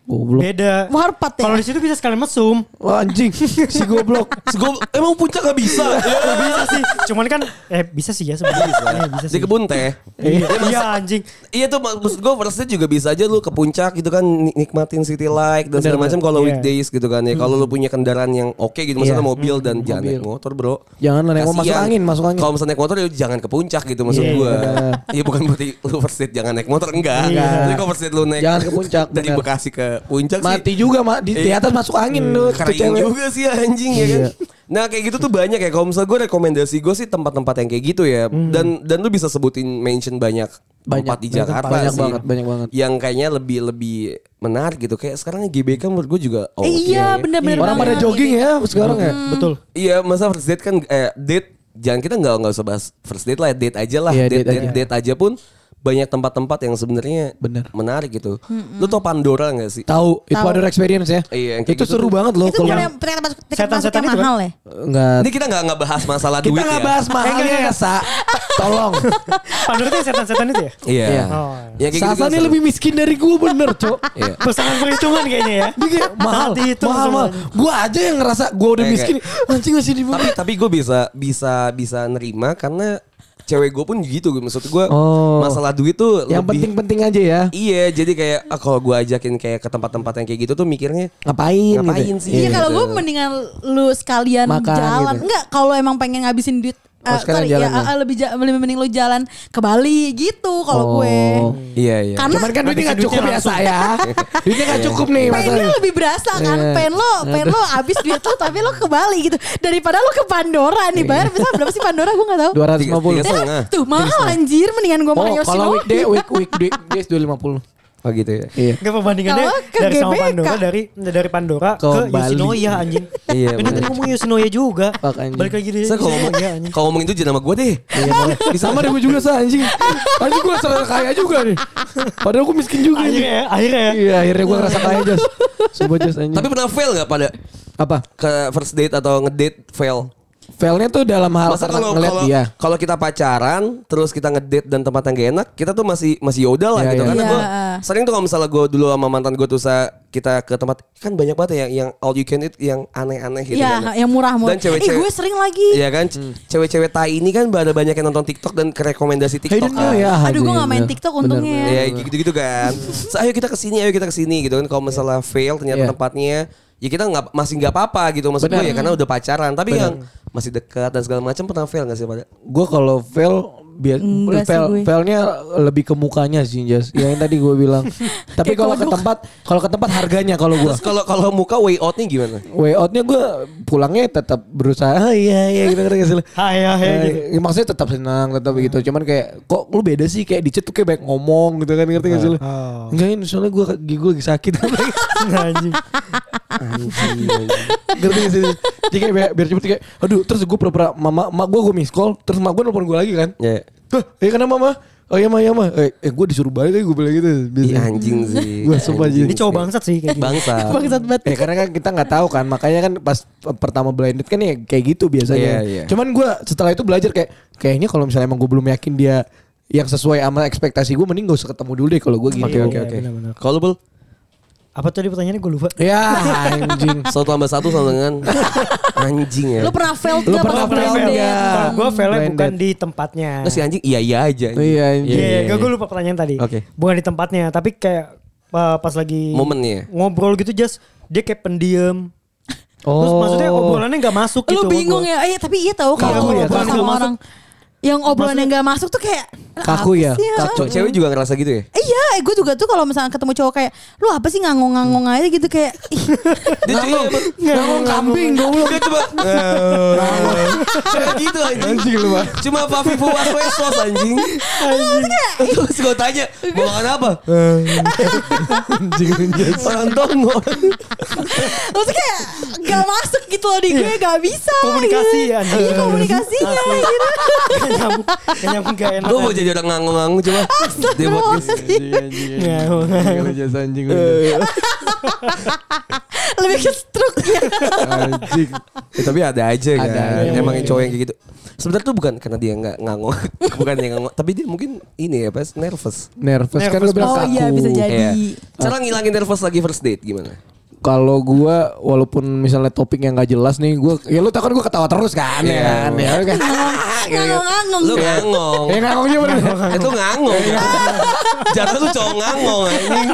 Goblok.
Beda.
Warpat ya.
Kalau di situ bisa sekalian mesum.
Wah anjing si goblok.
Terus gua, emang puncak gak bisa?
Nggak bisa sih. Cuman kan eh bisa sih ya sebenarnya. Iya, bisa
Di
sih.
kebun teh.
Iya, Iya anjing.
Iya tuh mak- maksud gue first date juga bisa aja lu ke puncak gitu kan nik- nikmatin city light dan segala macam kalau
Iya.
weekdays gitu kan ya. Kalau lu
Hmm.
punya kendaraan yang oke gitu maksudnya mobil dan jangan naik motor, Bro.
Iya. Jangan lah, naik motor, masuk
Kasian.
angin, masuk angin.
Kalau misalnya naik motor ya jangan ke puncak gitu maksud
Iya.
gua. Iya bukan berarti lu first date jangan naik motor enggak.
Iya.
Jadi kalau first date lu naik
Jangan ke puncak,
dari
benar.
Bekasi ke puncak
Mati
sih.
juga mak di, di atas masuk angin lu. tuh
hmm, Kering
cewek.
juga sih anjing ya kan.
Iya.
Nah kayak gitu tuh banyak ya. Kalau misalnya gue rekomendasi gue sih tempat-tempat yang kayak gitu ya. Dan dan lu bisa sebutin mention banyak
Hmm. Banyak,
tempat di
banyak
Jakarta
tempat. Banyak
sih.
banget, banyak banget.
Yang kayaknya lebih lebih menarik gitu. Kayak sekarang GBK menurut gue juga oke
Eh, iya,
ya.
bener-bener
Orang pada
banget.
jogging ya sekarang ya.
Hmm.
Betul.
Iya, masa first date kan eh, date jangan kita nggak nggak usah bahas first date lah, date aja lah,
Iya,
date
date
date, date aja pun banyak tempat-tempat yang sebenarnya
Bener.
menarik gitu. Lu tau Pandora nggak sih?
Tahu itu
Tahu.
ada experience ya.
Iya, yang kayak
itu
gitu
seru
tuh.
banget loh
Itu
kalau
bukan yang ternyata masuk tiket
Setan-setan
masuknya
itu kan?
mahal ya.
enggak
Ini kita nggak nggak bahas masalah
kita
duit
nggak
ya.
bahas mahalnya ya, Sa. Tolong.
Pandora itu yang setan-setan itu ya?
Iya.
Iya.
Oh.
Ya, kayak gitu
Sasa
kan
nih
seru.
lebih miskin dari gue bener, Cok.
Iya.
Pasangan perhitungan kayaknya ya.
Dia kayak mahal,
Saat itu
mahal, mahal.
semuanya.
Gue aja yang ngerasa gue udah
Iya, Kayak-
miskin. Anjing masih di
tapi tapi gue bisa bisa bisa nerima karena cewek gue pun gitu maksud gue
Oh.
masalah duit tuh
Yang
lebih
penting-penting aja ya.
iya jadi kayak ah, kalau gue ajakin kayak ke tempat-tempat yang kayak gitu tuh mikirnya
Ngapain?
Ngapain
gitu.
sih? Iya,
Iya kalau
gitu.
gue mendingan lu sekalian
Makan
jalan.
gitu.
Enggak, kalau emang pengen ngabisin duit
Oh,
eh,
sekalian
sorry,
jalan
ya,
ya?
eh, lebih, ja- lebih mending lu jalan ke Bali gitu kalau gue.
Oh.
iya iya
Karena
Cuman kan duitnya nggak
Habis
cukup
duitnya
ya saya. Duitnya nggak cukup nih
pengennya
masalahnya.
lebih berasa kan.
Iya.
Pengen lo, pengen lo habis duit lo tapi lo ke Bali gitu. Daripada lo ke Pandora nih. Bayar bisa berapa sih Pandora gue gak tahu.
Iya. Dua ratus
Tiga-
lima puluh.
tiga
Ya kan?
setengah.
Tuh mahal anjir mendingan gue makan
Oh, kalau
Yoshinoya.
weekday, week, week, weekdays dua lima puluh.
oh gitu ya
Iya.
Enggak perbandingannya
Kalau ke
dari sama
GBK.
Pandora dari dari Pandora
Ke
ke,
Bali.
Yoshinoya anjing.
Iya,
Ini tadi
bener.
ngomong Yoshinoya juga.
Fuck, anjing.
Balik lagi dari
Saya kalau ngomong,
Yoshinoya anjing.
kalau ngomong itu jadi nama gue deh.
Iya, boleh. sama deh gue juga sa anjing. Anjing gue serasa kaya juga nih. Padahal gue miskin juga
Akhirnya
nih.
ya, akhirnya ya.
Iya, akhirnya gue ngerasa kaya jas. Sumpah jas anjing.
Tapi pernah fail nggak pada
apa?
ke first date atau ngedate fail?
Failnya tuh dalam hal
Masa
karena
kalau
ngeliat
kalau
dia.
kalau kita pacaran terus kita ngedate dan tempat yang gak enak, kita tuh masih masih yaudah lah
Iya,
gitu
iya.
karena gue
Iya.
sering tuh kalau misalnya gue dulu sama mantan gue tuh sa- kita ke tempat kan banyak banget ya yang yang all you can eat yang aneh-aneh gitu
Ya,
kan.
yang murah-murah.
Dan cewek-cewek
Eh gue sering lagi.
Iya kan, c-
Hmm.
cewek-cewek tai ini kan ada banyak yang nonton TikTok dan ke rekomendasi TikTok.
Hayden
kan.
ya.
Aduh gue
Hayden
gak main
ya.
TikTok
Bener,
untungnya.
Ya gitu-gitu kan. So, ayo kita ke sini, ayo kita ke sini gitu kan. Kalau misalnya fail ternyata
Iya.
tempatnya ya kita nggak masih nggak apa-apa gitu maksud gue
Benar.
ya karena udah pacaran tapi yang masih dekat dan segala macam pernah fail nggak sih pada
gue kalau fail biar
Enggak sih
fail,
gue.
failnya lebih ke mukanya sih Jas. Ya, yang tadi gue bilang. Tapi kalau ke tempat kalau ke tempat harganya kalau gue.
terus kalau kalau muka way outnya gimana
Way outnya gue pulangnya tetap berusaha "Ah, iya iya gitu gitu gitu.
Hai hai hai, gitu.
Ya, maksudnya tetap senang tetap gitu cuman kayak kok lu beda sih kayak dicet tuh kayak banyak ngomong gitu kan ngerti gak sih lu
Oh.
enggak ini soalnya gue gigi gue lagi sakit
Nah, Anjing.
ngerti gak sih jadi kayak biar, biar cepet kayak aduh terus gue pura-pura mama mak gue gue miss call terus mak gue nelfon gue lagi kan
ya
Hah, ya karena mama oh iya ma iya ma eh, eh gue disuruh balik lagi gue bilang gitu
Ih,
biasanya
Iya, anjing sih
Wah, sumpah,
Anjing Iya.
Ini cowok bangsat sih kayak Eh, gitu.
bangsa
Bangsat banget.
Ya karena kan kita nggak tahu kan makanya kan pas p- pertama blinded kan ya kayak gitu biasanya.
Iya, iya.
Cuman gue setelah itu belajar kayak kayaknya kalau misalnya emang gue belum yakin dia yang sesuai sama ekspektasi gue mending gak usah ketemu dulu deh kalau gue gitu.
oke oke
Iya,
oke
benar-benar.
kalau bel
Apa tadi pertanyaannya gue lupa.
Ya anjing.
Satu tambah satu sama dengan anjing ya.
Lu pernah failed
Lu
nggak
pernah
pas
failed
blended?
nggak?
Kalau gue failnya
Blended.
bukan di tempatnya.
Nggak sih anjing iya iya aja. anjing.
Iya, anjing.
Iya,
Iya, iya,
gue
iya.
lupa pertanyaan tadi.
Oke.
Bukan di tempatnya, tapi kayak uh, pas lagi
Momennya.
ngobrol gitu just dia kayak pendiam. Terus
Oh.
maksudnya obrolannya nggak masuk gitu.
Lu bingung ya? Eh tapi iya tahu kalau
Kaku ya,
ngobrol sama
kaku. Nggak
orang yang obrolan yang nggak masuk tuh kayak
Kaku ya,
apa sih
Cewek- Iya. Cewek juga ngerasa gitu ya.
Iya, gue juga tuh kalau misalnya ketemu cowok kayak lu apa sih ngangong-ngangong aja gitu kayak ih,
Dia cuma
Ngomong kambing dong.
Dia cuma Cuma gitu anjing
Anjing lu, Bang.
Cuma Fafi Fuwas Wesos anjing Terus gue tanya Mau makan apa?
Anjing anjing.
Orang tongo
maksudnya kayak gak masuk gitu loh di gue gak bisa.
Komunikasi
gitu.
ya, anjing.
Iya komunikasinya gitu.
Gak nyambung, gak nyambung, gak enak.
Gue mau jadi orang ngangong-ngangong Cuma Dia buat gitu."
Iya,
Ngawang.
Anjing anjing. anjing.
Lebih ke stroke ya.
iya. Anjing.
Ya, tapi ada aja kan.
Ada aja.
Emang yang cowok yang kayak gitu. Sebenarnya tuh bukan karena dia nggak ngangong, bukan dia ngangong, tapi dia mungkin ini ya, pas nervous.
Nervous kan lu
Nervous
bilang
Oh
kaku.
iya bisa jadi.
Iya. Cara ngilangin nervous lagi first date gimana?
Kalau gua walaupun misalnya topik yang gak jelas nih gua ya lu tau kan gua ketawa terus kan ya kan.
Iya.
Ya kan.
Ngangong-ngangong.
Lu ngangong.
Ya ngangongnya bener.
Itu ngangong. Jangan lu cowok ngangong anjing.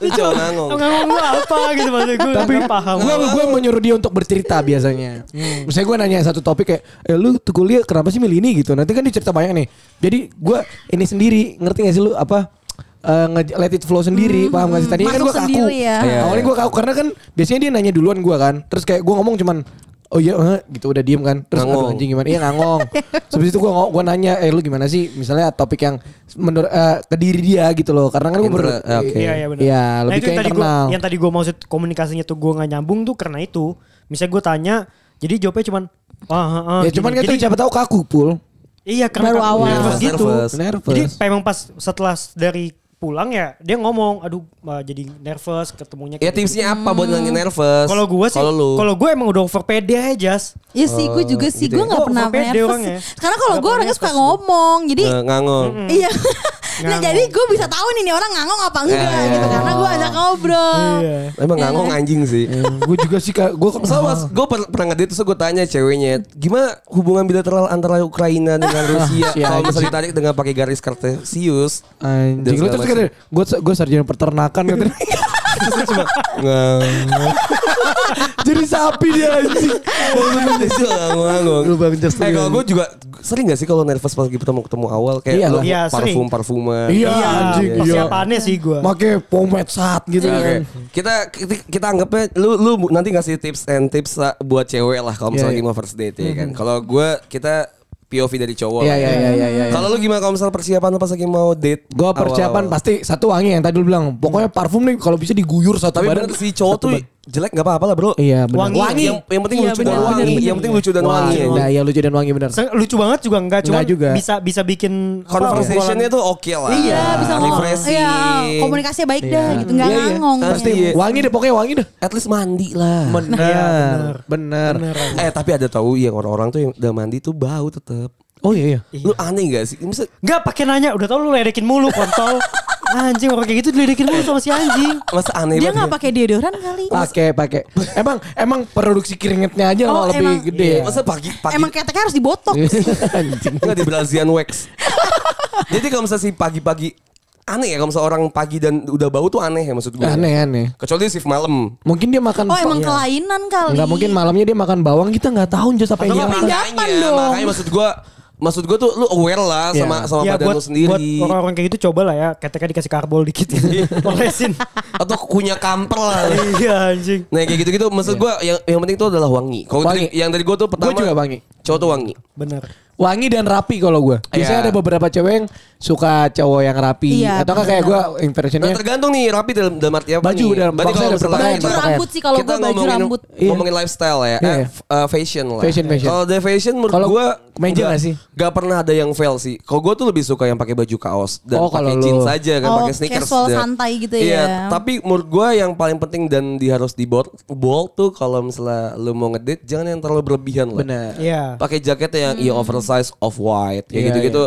Lu cowok ngangong.
Ngawang lu apa gitu maksudnya gue
tapi
nggak paham.
gue gue menyuruh dia untuk bercerita biasanya
Hmm.
misalnya gue nanya satu topik kayak eh, lu tuh kuliah kenapa sih milih ini gitu nanti kan dia cerita banyak nih jadi gue ini sendiri ngerti gak sih lu apa eh, nge- let it flow sendiri
Hmm,
paham gak sih tadi kan
Masuk
gue kaku
sendiri ya.
Iya,
awalnya
iya.
gue kaku karena kan biasanya dia nanya duluan gue kan terus kayak gue ngomong cuman Oh iya, eh, gitu udah diem kan. Terus
Ngangong.
aduh, anjing gimana? Iya ngangong. Sebelum itu gua ngo- gua nanya, eh lu gimana sih? Misalnya topik yang menurut eh, ke diri dia gitu loh. Karena kan gue ber
Inter- oke.
Iya iya benar.
Iya, lebih
itu
ke
yang tadi gua,
internal.
yang tadi gue maksud komunikasinya tuh gue nggak nyambung tuh karena itu. Misalnya gue tanya, jadi jawabnya cuman ah, ah, ah,
ya
gini.
cuman kan
Jadi-
tuh siapa tahu kaku pul.
Iya karena
Baru
kan
awal.
nervous
Nervous,
gitu.
nervous.
Nervous.
Jadi memang pas setelah dari pulang ya dia ngomong, aduh uh, jadi nervous ketemunya.
Ya tipsnya apa buat ngilangin nervous?
Kalau gue sih,
Kalau lu.
kalau gue emang udah over pede aja, Jas.
Iya sih, gue juga sih,
gitu
gue
ya.
gak
Gua
pernah
pede
nervous.
orangnya.
Karena
Nggak
kalau gue
pernah
orangnya suka
nervous gua.
ngomong, jadi
Eh, ngangong.
iya. nah
Ngangong.
jadi gue bisa tahu nih, nih orang ngangong apa enggak
Iya, iya.
gitu, karena gue ajak
Oh.
ngobrol.
Iya.
Emang ngangong anjing sih.
gue Hmm, juga sih kak, gue
Sama, gue pernah ngedit terus gue tanya ceweknya, gimana hubungan bilateral antara Ukraina dengan Rusia?
si
Kalau
anjing.
misalnya ditarik dengan pakai garis Cartesius,
Anjing lu terus kira gue gue sarjana peternakan katanya.
terus cuma ngangong.
Jadi sapi dia anjing.
Dia cuma ngangong-ngangong.
Lu Bang Jas,
Eh
lu
kalau
yang-
gue juga sering gak sih kalau nervous pas ketemu ketemu awal kayak
Iya
lu
lah.
Iya, sering.
parfum parfuman.
Iya,
Iya,
anjing, iya.
persiapannya sih gue.
Pakai pomade saat gitu
Iya, Oke.
kan.
Kita kita- kita anggapnya lu lu nanti ngasih tips and tips uh, buat cewek lah kalau misalnya
Iya,
lagi
iya.
mau first date ya kan. Kalau gue kita POV dari cowok.
Iya,
lah
iya,
ya.
iya, iya, iya, iya.
Kalau lu gimana kalau misalnya persiapan lu pas lagi mau date?
Gue
awal-awal? Hmm.
persiapan pasti satu wangi yang tadi lu bilang. Pokoknya parfum nih kalau bisa diguyur satu
Tapi
badan.
bener si cowok
satu
tuh
badan.
jelek gak apa-apa lah bro.
Iya benar.
Wangi.
Yang, yang penting
Iya,
lucu dan
bener,
wangi.
bener,
yang penting lucu dan wangi.
Wangi. Nah, iya lucu dan wangi bener.
Se- Lucu banget juga enggak, cuman
Enggak juga.
bisa bisa bikin apa,
Conversationnya
obrolan.
tuh oke lah. Nah,
Iya, bisa ngomong.
Refreshing.
Iya, komunikasinya baik dah gitu, nggak
Iya, iya.
ngangong.
Pasti.
Iya.
Iya.
Wangi deh pokoknya wangi deh.
At least mandi lah.
Bener. Bener.
eh tapi ada tahu yang orang-orang tuh yang udah mandi tuh bau tetep.
Oh iya iya.
Lu aneh gak sih? Misal,
Enggak pakai nanya, udah tau lu ledekin mulu kontol. anjing orang kayak gitu diledekin mulu sama si anjing.
masa aneh banget.
Dia nggak
ya?
pakai deodoran kali.
Pakai pakai. Emang emang produksi keringetnya aja
Oh,
lebih
emang-
gede.
Iya. Masa pagi pagi
Emang keteknya harus dibotok.
Iya. Anjing.
enggak di Brazilian wax. Jadi kalau misalnya si pagi-pagi aneh ya kalau misalnya orang pagi dan udah bau tuh aneh ya maksud gue.
Aneh aneh.
Kecuali shift malam.
Mungkin dia makan
Oh emang kelainan kali.
Enggak Iya. mungkin malamnya dia makan bawang kita nggak tahu jas apa yang dia
nggak
makan.
penggapan dong.
Eh, iya. makanya maksud gue maksud gue tuh lu aware lah
Iya.
sama sama
Ya,
badan lu sendiri.
buat orang-orang kayak gitu coba lah ya, keteknya dikasih karbol dikit gitu. Olesin.
Atau kunyah kamper lah.
iya anjing.
Nah kayak gitu-gitu maksud gue yang yang penting tuh adalah wangi. Kalau
Iya. Wangi.
dari- yang dari gue tuh pertama
juga wangi.
Cowok tuh wangi.
Bener.
Wangi dan rapi kalau gue. Biasanya
Iya.
ada beberapa cewek yang suka cowok yang rapi.
Iya,
Atau nggak kayak gue
benar.
Nah,
impressionnya
tergantung nih rapi dalam dalam arti apa
ya. Baju
nih.
dalam
Berarti
boxnya
kalau
ada
misalnya
berpakaian.
Baju rambut sih kalau gue
Kita
baju
ngomongin-
rambut.
Iya.
Ngomongin lifestyle
Iya.
ya, eh, f- eh, fashion lah.
Fashion, fashion.
Kalau dari fashion menurut
Kalau
gue
kemeja nggak sih?
Gak pernah ada yang fail sih. Kalau gue tuh lebih suka yang pakai baju kaos dan
Oh,
pakai
kalau lu.
jeans aja kan
Oh,
pakai sneakers.
casual
dan-
santai gitu
Iya,
ya.
tapi menurut gue yang paling penting dan di harus di bold, bold tuh kalau misalnya lu mau ngedate jangan yang terlalu berlebihan lah.
benar.
Iya.
Hmm.
Pakai jaket yang ya oversize off white kayak
Iya,
gitu-gitu.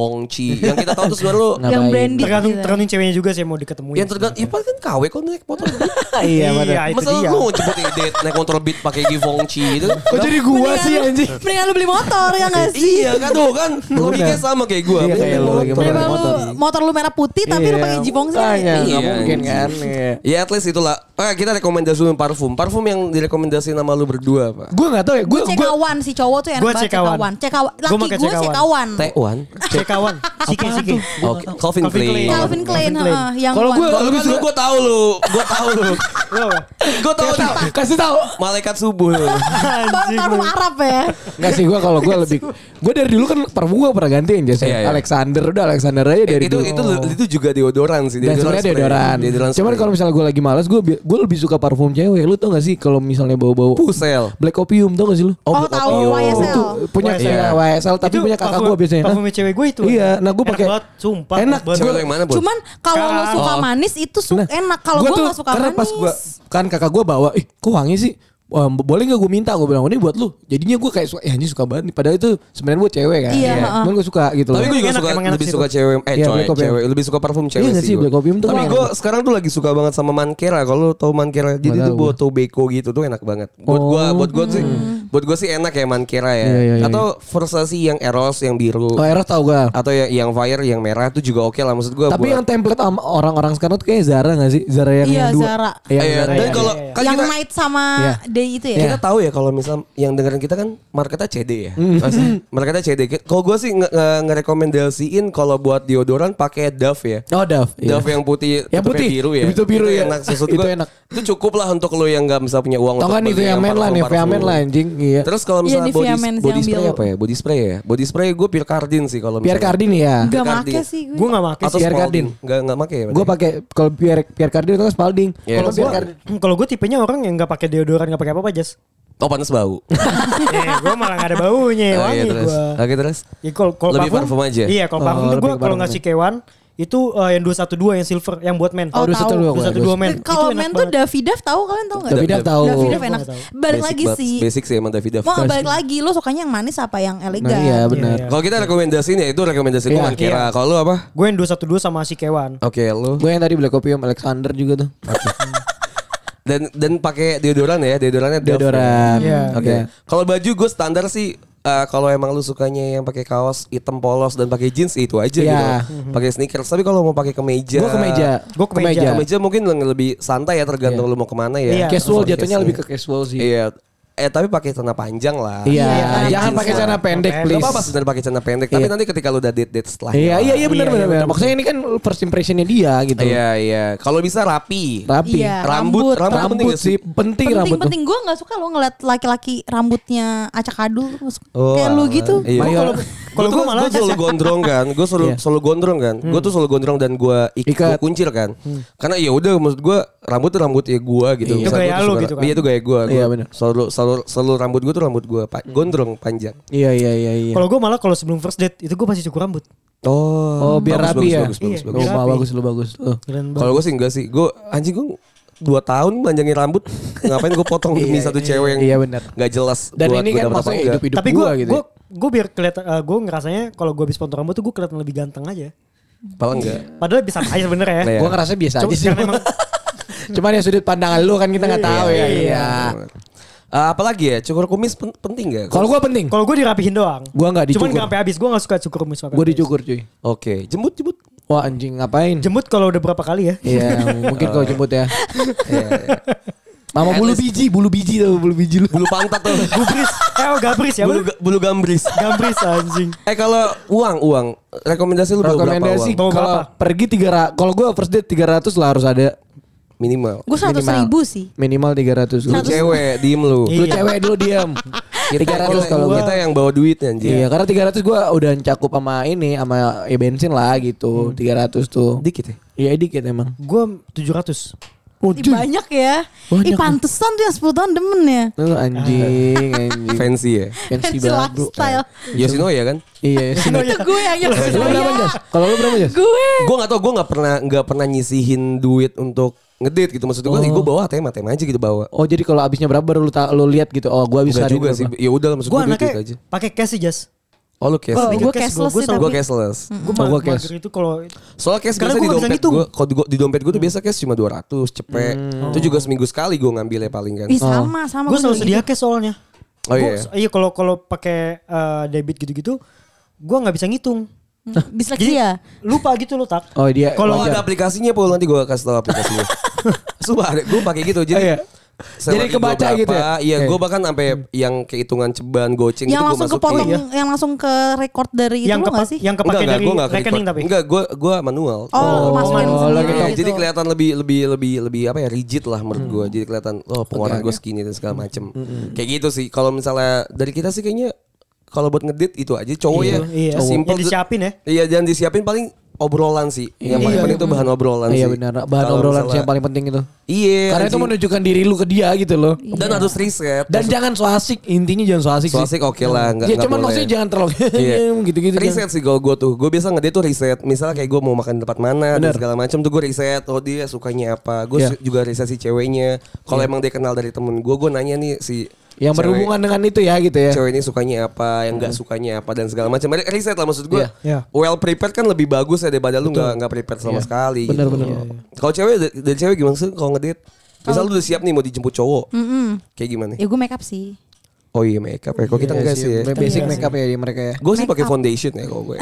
Givongchi yang kita tahu tuh sebenarnya lu
Yang
Ngapain?
branded
Tergantung
gitu.
ya.
tergantung ceweknya juga sih yang mau diketemuin.
yang tergantung Ipa kan KW kok naik motor Beat.
iya, bener.
iya itu
Masa lu
dia.
mau jemput ide naik motor beat pakai Givongchi itu kan?
Kok jadi gua
Mendingan
sih
lu-
anjing?
Mendingan lu beli motor ya gak sih?
Iya kan tuh kan logiknya sama kayak gue.
Iya, kayak lu lagi
Mendingan
Motor.
lu motor lu merah putih tapi lu pakai jipong sih.
Iya. Makanya,
Iya.
nggak
Iya,
mungkin
anjing.
kan. Iya.
Ya at least itulah. Oke, kita rekomendasiin parfum. Parfum yang direkomendasiin sama lu berdua, Pak.
Gue gak tau ya. Gue gue
Cekawan si cowok tuh enak
Gua
banget
cekawan.
cekawan. Cekawan.
Gua
Laki
pakai
gue
cekawan.
cekawan.
Taiwan.
Cekawan. Sike sike.
Oke, Calvin
Calvin
Klein.
Klein.
Calvin
Calvin
Klein,
Klein.
heeh, yang
Kalau
one.
gua-
Kalau kan lu gue tahu lu, gue tahu lu.
Lo apa?
Gue tahu lu.
kasih tau.
Malaikat subuh. lu.
Bang
Anjing.
parfum Arab ya.
Enggak sih gue kalau gue lebih. Gue dari dulu kan parfum gue pernah gantiin
Iya,
jasnya.
iya.
Alexander udah Alexander aja dari
itu
dulu.
itu itu juga deodoran sih.
gitu. Dan sebenarnya
spray.
deodoran.
Deodoran.
Cuman
spray.
kalau misalnya gue lagi malas, gue gue lebih suka parfum cewek. Lu tau gak sih kalau misalnya bau-bau
Pusel.
Black Opium tau gak sih lu?
Oh, tahu YSL.
punya
Oh,
YSL.
iya, YSL tapi
Itu
punya kakak
parfum-
gue biasanya.
parfumnya cewek gue itu.
Iya, nah gue
Enak
pakai.
banget, sumpah.
Enak.
Enak
Cewek
banget.
lu yang mana, Bu?
Cuman kalau lo
Sekarang.
suka manis itu su-
Nah,
enak. Kalau
gua
gue
tuh
gak suka
karena
manis.
pas gua kan kakak gue bawa, ih kok wangi sih? Wah, bo- boleh gak gue minta? Gue bilang ini buat lu. Jadinya gue kayak suka, ya ini suka banget. nih. Padahal itu sebenarnya buat cewek kan.
Iya, heeh.
Cuman gue suka gitu
Tapi
loh.
gue juga
Enak,
suka
emang enak
lebih
sih
suka
itu.
cewek, eh
Iya,
coy,
Black Opium.
cewek lebih suka parfum cewek
Iya nggak sih,
sih. gua.
Black Opium tuh
Tapi
gua-
gue sekarang tuh lagi suka banget sama Mankera. Kalau lu tau Mankera, jadi
Nggak
tuh
tahu
buat tobacco gitu tuh enak banget. Buat gue,
Oh.
buat gue sih, buat gue sih enak ya Mankera ya.
Iya, iya, iya.
Atau versasi yang eros, yang biru,
Oh Eros tau gue.
atau yang yang fire, yang merah itu juga oke lah maksud gue.
Tapi yang template sama orang-orang sekarang tuh kayak Zara gak sih? Zara yang,
Iya,
yang dua.
Zara.
Iya,
Iya,
Zara
dan
yang-
kalau kan
yang
kita,
night sama
Iya.
day itu ya.
kita tahu ya kalau misal yang dengerin kita kan marketnya CD ya.
Hmm.
Maksudnya marketnya CD. Kalau gue sih nge- nge- ngerekomendasiin kalau buat deodoran pakai Dove ya.
Oh Dove. iya.
Dove yang putih,
Yang
tutupnya
putih,
biru ya.
itu biru ya.
Enak sesuatu
Itu
gua.
enak.
Itu cukup lah untuk lo yang nggak bisa punya uang
Tau
untuk
kan itu
beli
yang main lah nih,
parfum-parfum.
main lah anjing. Iya.
Terus kalau
Iya,
misalnya
di
body,
Viamens
body
yang
spray
biru.
apa ya? Body spray ya. Body spray gue Piercardin sih kalau
Pierre
misalnya.
Cardin ya.
Gak
Dekat
make
dia.
sih gue.
Gue gak pakai
Atau
sih.
Pierre
Spalding. Nggak nggak pakai ya.
Gue pakai kalau Pierre Pierre Cardin itu kan Spalding.
Iya.
Kalau
Gua-
Pierre Cardin
Hmm, Kalau gue tipenya orang yang gak pakai deodoran, gak pakai apa-apa, Jas.
Oh panas bau.
eh, gue malah gak ada baunya,
Oh, iya,
wangi
terus.
gue.
Oke terus.
Ya, kalau kalau
Lebih parfum aja?
Iya, kalau
Oh,
parfum tuh gue
lebih
kalau
parfum.
nggak sikewan itu eh, yang 212 yang silver yang buat men.
Oh,
Oh, 212,
212 men.
Kalau
Itu enak
men tuh
banget.
Davi Dav tahu kalian tahu gak?
Tapi
Davidav
Dav tahu.
Davidav enak.
Gua nggak
Balik
Basic
lagi
banget.
sih.
Basic sih emang Davidoff.
Mau balik lagi lo sukanya yang manis apa yang
Nah, iya
elegan?
benar.
Iya,
Kalau kita rekomendasiin ya itu rekomendasi gue
Iya,
Mankera.
iya.
Kalau lu apa?
Gue yang 212 sama sikewan.
Oke lu.
Gue yang tadi Black Opium Alexander juga tuh.
Dan dan pakai deodoran ya, deodorannya Dove.
Deodoran.
Iya.
Oke. Kalau baju gue standar sih eh, kalau emang lu sukanya yang pakai kaos hitam polos dan pakai jeans itu aja
Iya.
gitu. Pakai sneakers. Tapi kalau mau pakai kemeja.
Gue ke meja.
Gua ke meja.
Kemeja mungkin le- lebih santai ya tergantung lu mau kemana ya.
Iya.
Casual
Sorry,
jatuhnya
casual.
lebih ke casual sih.
Iya. Eh tapi pakai celana panjang lah.
Iya,
Iya,
jangan
jeans
pakai
lah.
celana pendek
Gak
Gak
please.
apa-apa sebenarnya pakai celana pendek. Tapi
Iya.
nanti ketika lu udah date date setelah. ya.
Iya, iya, iya benar
Iya,
benar
iya,
benar. Maksudnya ini kan first impressionnya dia gitu.
Iya iya. Kalau bisa rapi.
Rapi.
Iya,
Rambut, rambut,
rambut.
penting
Rambut
gak sih?
sih penting
Penting
rambut. tuh.
penting gue nggak suka lo ngeliat laki-laki rambutnya acak adul
Oh,
kayak lu
alah.
gitu.
Iya.
Mayor.
Kalau
Gua tuh
gue malah
gua selalu gondrong kan, gue selalu
Iya.
selalu gondrong kan, gue tuh selalu gondrong dan gue ik
Ikat.
gua kuncir kan, karena ya udah maksud gue rambut tuh rambut ya gue gitu,
Itu
Misalnya
gaya
gua tuh
lu
suka-
gitu kan.
iya itu gaya gue,
Iya, bener.
selalu selalu selalu rambut gue tuh rambut gue gondrong panjang,
Iya, iya, iya, iya.
kalau gue malah kalau sebelum first date itu gue masih cukur rambut.
oh,
Oh, biar
bagus,
rapi
bagus,
ya.
bagus, bagus,
Iya.
bagus.
Lu
Biar
mau
rapi.
bagus, lu bagus. Lu.
Keren banget.
kalau gue sih enggak sih, gue anjing gue dua tahun panjangin rambut, ngapain gue potong demi satu cewek yang
Iya, bener.
nggak jelas
Dan
buat
ini
gua
kan
dapet apa
maksudnya
enggak.
hidup-hidup
Tapi gue
gua gitu.
gue gue biar kelihatan gue ngerasanya kalau gue habis potong rambut tuh gue kelihatan lebih ganteng aja.
Padahal enggak.
Padahal bisa aja sebenernya ya.
Iya.
Gue ngerasa biasa
Cuma
aja sih.
karena emang-
Cuman ya sudut pandangan lu kan kita nggak tahu ya. Iya.
Eh, apalagi ya cukur kumis pen- penting gak?
Kalau gua penting.
Kalau gue dirapihin doang.
Gua nggak
Cuman
dicukur.
gak sampai habis. Gue gak suka cukur mis.
Gua dicukur cuy.
Oke, jembut jembut.
Wah anjing ngapain?
Jemput kalau udah berapa kali ya.
Iya mungkin kau jemput ya.
Iya,
Mama
At
bulu
least-
biji, bulu biji tuh, bulu biji lu.
bulu pantat tuh.
Gubris. Eh oh gabris ya.
bulu,
bener.
bulu gambris.
Gambris anjing.
Eh kalau uang uang rekomendasi lu bawa berapa
Rekomendasi
uang?
Bawa
kalau
berapa?
pergi 300 kalau gua first date 300 lah harus ada
Minimal.
Gue seratus
Minimal.
ribu sih.
minimal 300
Lu
lu.
cewek diem lu.
Lu
Iya.
cewek dulu diam.
Kita
300 kalau gua.
kita yang bawa duit anjir.
Iya, karena 300 gua udah cakup sama ini sama ya bensin lah gitu. 300 tuh.
Dikit ya.
Iya dikit emang.
Gue 700.
Ih, banyak ya.
Banyak.
Ih pantesan tuh yang 10 tahun demen ya.
Lu anjing, anjing.
Fancy ya.
Fancy
Fancy
banget. bro.
lifestyle.
Yosino ya kan?
Iya, sini.
Itu gue yang
Lu berapa, Jas? Kalau lu berapa, Jas?
Gue.
Gue gak tau, gue gak pernah gak pernah nyisihin duit untuk ngedit gitu. Maksud gue, gue bawa ATM, ATM aja gitu bawa.
Oh, jadi kalau habisnya berapa baru lu ta- lu lihat gitu. Oh, gua bisa
Enggak
hari
juga
ini
sih.
berapa.
Ya udah maksud
Gue
gue duit,
anaknya
duit aja.
pakai cash sih Jas.
Oh lu cash.
Kalau
Sedikit
gue
cash
cashless
gua
sih
sama-
tapi.
Gue cashless.
Gue
Oh, gua
mager
cash.
itu kalau
Soalnya cash biasa
Karena gua
di
nggak bisa
dompet
ngitung.
gue, kalau di, gua- di dompet gue tuh biasa cash cuma 200 cepet. Itu juga seminggu sekali gue ngambilnya paling kan.
Ih sama sama.
gue
gua
selalu
juga
sedia
gitu.
cash soalnya.
Oh
Gua-
iya.
Iya kalau kalau pakai eh, debit gitu-gitu, gue nggak bisa ngitung.
Hmm, Disleksia.
Lupa gitu loh tak.
Oh, dia-
Kalau
kalau
wajar.
ada aplikasinya Paul nanti gue kasih tau aplikasinya. Sumpah gue pakai
Oh,
gitu
iya.
jadi.
Jadi
selagi gua
kebaca
berapa,
gitu ya?
Iya,
Oke.
gue bahkan sampai yang kehitungan ceban goceng itu gitu
Yang
gua
langsung
masukin.
kepotong,
Iya.
yang langsung ke record dari itu
yang
lo
kepa-
nggak sih?
yang kepake dari
gua nggak
rekening
keyboard.
tapi.
Enggak, gue gua manual.
Oh,
Oh,
masukin
oh,
sendiri
gitu. Hmm.
gitu.
Iya, Jadi kelihatan lebih lebih lebih lebih apa ya rigid lah menurut gue. Jadi kelihatan oh pengeluaran gue segini dan segala macem. Kayak gitu sih. Kalau misalnya dari kita sih kayaknya kalau buat ngedit itu aja cowok
Iya,
ya.
iya.
Simple.
Yang disiapin ya. Iya.
Iya dan disiapin paling obrolan sih. Yang paling penting itu bahan obrolan sih.
Iya benar. Bahan
Kalau
obrolan
misalnya-
sih yang paling penting itu.
Iya.
Karena itu
anjing.
menunjukkan diri lu ke dia gitu loh.
dan
Iya.
harus riset.
Dan jangan so asik, intinya jangan so asik.
So asik oke lah, nggak-
Ya
nggak
cuman
boleh.
maksudnya jangan terlalu
Iya.
gitu-gitu. kan.
Riset sih kalau gue tuh. Gue biasa ngedate tuh riset. Misalnya kayak gue mau makan di tempat mana dan
Bener.
segala macam tuh gue riset. Oh dia sukanya apa. Gue
Iya.
su- juga riset si ceweknya. Kalau emang dia kenal dari temen gue, gue nanya nih si
jangan. Yang
cewek-
berhubungan dengan itu ya gitu ya. Hmm.
Cewek ini sukanya apa, yang nggak sukanya apa dan segala macam. Re- Riset lah maksud gue.
Iya.
Iya.
Well prepared kan lebih bagus ya daripada lu nggak nggak prepared sama sekali.
Bener,
gitu.
bener.
Iya. Kalau cewek d- dari cewek gimana sih kalau ngedate? Misal lu udah siap nih mau dijemput cowok. Kayak gimana?
Ya gue make up sih.
Oh iya makeup ya. Kalau kita enggak sih ya. Iya,
Basic makeup ya di mereka ya.
Gue sih pakai foundation ya kalau gue.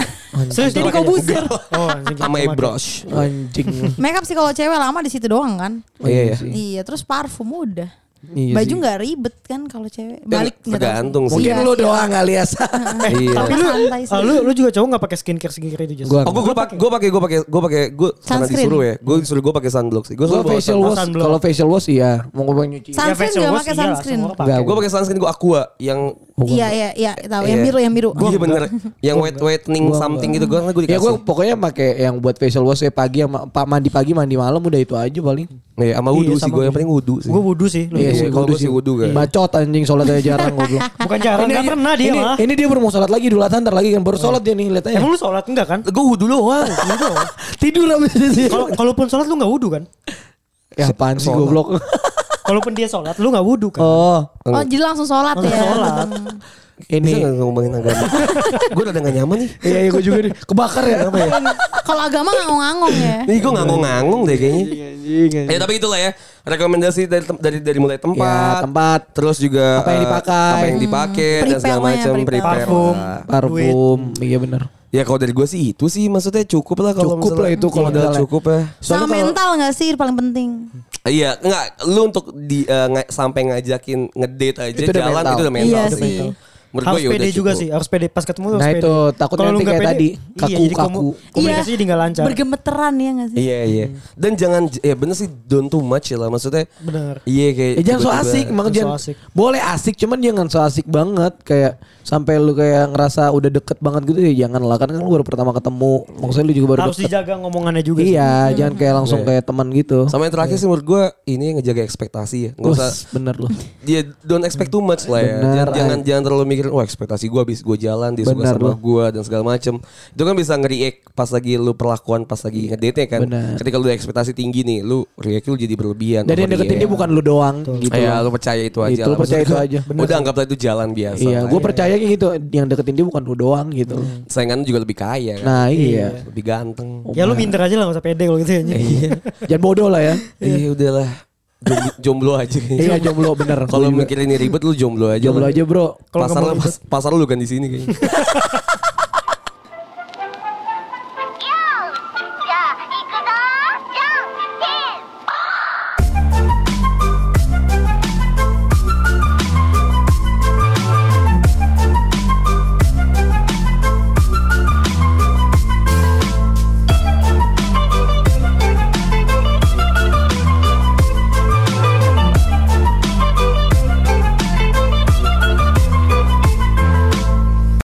Serius
Jadi
lu pakai-
kau buzzer.
Oh, anjing,
Sama
gua
eye
pakai.
brush.
Anjing.
Make up sih kalau cewek lama di situ doang kan.
Oh, iya, iya.
Iya, terus parfum udah.
Iya
Baju
sih.
nggak ribet kan kalau
Ya,
cewek. Balik nggak tahu.
tergantung sih.
Mungkin
Iya,
lu
iya.
doang alias.
Eh,
Iya.
tapi lu,
Santai sih.
ah, lu lu juga cowok nggak pakai skincare skincare itu Jess?
Gua-
Oh, gue gue pakai gue pakai gue pakai gue pakai gue karena
Sunscreen.
disuruh ya. Gue disuruh gue pakai sunblock sih. Gue
Gua
selalu bawa
facial
sun-
wash.
sunblock.
Kalau facial wash iya. Mau gue nyuci.
Sa- Sunscreen
facial
nggak
wash,
pakai
iya lah,
sunscreen.
semua pakai.
Nggak,
Gue pakai sunscreen gue aqua yang
Iya, iya, iya, tahu
Iya.
yang biru, yang biru. Oh,
Iya bener Yang white whitening something gitu Gue gue
Ya
dikasih
gue pokoknya pakai yang buat facial wash ya pagi sama pa- mandi pagi mandi malam udah itu aja paling.
Iya sama wudu
Iya,
sih
sama
Gue yang
gua.
paling wudu sih
Gue wudu sih. lu.
Iya,
sih,
kalau
wudu
gua sih wudu kan.
Bacot anjing sholat aja jarang goblok.
Bukan jarang, nggak pernah dia
ini,
mah.
ini dia baru mau sholat lagi dulu ntar lagi kan baru sholat dia nih lihat aja.
Emang lu sholat enggak kan?
Gue wudu doang
Tidur abis itu.
Kalau kalaupun sholat lu nggak wudu kan?
Ya apaan sih
Sholat.
goblok.
Kalaupun dia sholat lu nggak wudu kan?
Oh,
Oh, jadi langsung sholat
Langsung
ya.
sholat.
Hmm.
Bisa
ini.
gak ngomongin agama Gue udah gak nyaman nih
Iya, iya gue juga nih. Kebakar ya apa ya?
Kalau agama ngangong-ngangong ya.
Nih gue ngangong-ngangong deh kayaknya Ya tapi itulah ya rekomendasi dari tem- dari dari mulai tempat,
Ya, tempat.
terus juga
Apa yang
eh,
dipakai.
apa yang dipakai
Hmm,
dan segala
prepare lah ya,
macam
prepare.
prepare.
Parfum.
lah.
Parfum, iya bener.
Ya kalau dari gue sih itu sih maksudnya cukup lah kalau
Cukup lah
misalnya-
itu kalau
Modal
misalnya.
cukup ya.
Sama
kalau-
mental nggak sih paling penting.
Iya, enggak lu untuk di eh, nga- sampai ngajakin ngedate aja
Itu udah
jalan
mental.
itu udah mental
Iya
sih.
sih.
Menurut gue
harus
ya
pede
udah
juga
cukup.
sih, harus pede pas ketemu lu
Nah,
harus pede.
itu, takutnya
Kalau lu
nanti
nggak
kayak
pede,
tadi,
iya, jadi
kaku-kaku.
komu- Komunikasi jadi nggak lancar.
Iya. Bergemeteran ya nggak sih?
Iya,
Hmm.
iya. Dan jangan ya bener sih don't too much lah maksudnya.
Bener.
Iya kayak
Ya jangan so
tiba-tiba- kan
asik, emang
Jangan
jangan
so asik.
boleh asik, cuman jangan so asik banget kayak sampai lu kayak ngerasa udah deket banget gitu ya jangan lah, karena kan lu baru pertama ketemu, maksudnya lu juga baru
Harus
deket.
dijaga ngomongannya juga. sih.
Iya, jangan kayak langsung kayak teman gitu.
Sama yang terakhir sih menurut gue ini yang ngejaga ekspektasi ya. Gak usah
Us, bener lu.
Dia don't expect too much lah ya.
Benar,
jangan, jangan
Ay.
jangan terlalu mikirin wah ekspektasi gue habis gue jalan dia suka
Benar,
sama
loh.
gue dan segala macem. Itu kan bisa nge-react pas lagi lu perlakuan pas lagi ngedate kan.
benar.
Ketika lu ada ekspektasi tinggi nih, lu react lu jadi berlebihan.
Dan yang deketin dia bukan lu doang gitu.
Iya,
loh.
lu percaya itu aja.
Itu, lu
lah.
percaya itu
Maksudnya, kan
aja. Benar.
Udah anggaplah itu jalan biasa.
Iya,
lah
gue
ya.
percaya kayak gitu. Yang deketin dia bukan lu doang gitu.
Saingannya juga lebih kaya kan.
Nah iya.
Lebih ganteng.
Ya lu minder aja lah nggak usah pede kalau gitu ya.
Iya.
Jangan bodoh lah ya.
Iya udahlah. Jomblo, jomblo aja.
Iya jomblo bener. Gua
Kalau
juga.
mikirin ini ribet lu jomblo aja.
jomblo
lah.
aja bro.
Kalau
pasar
nggak mau
lu, pas- pasar lu kan di sini kayaknya.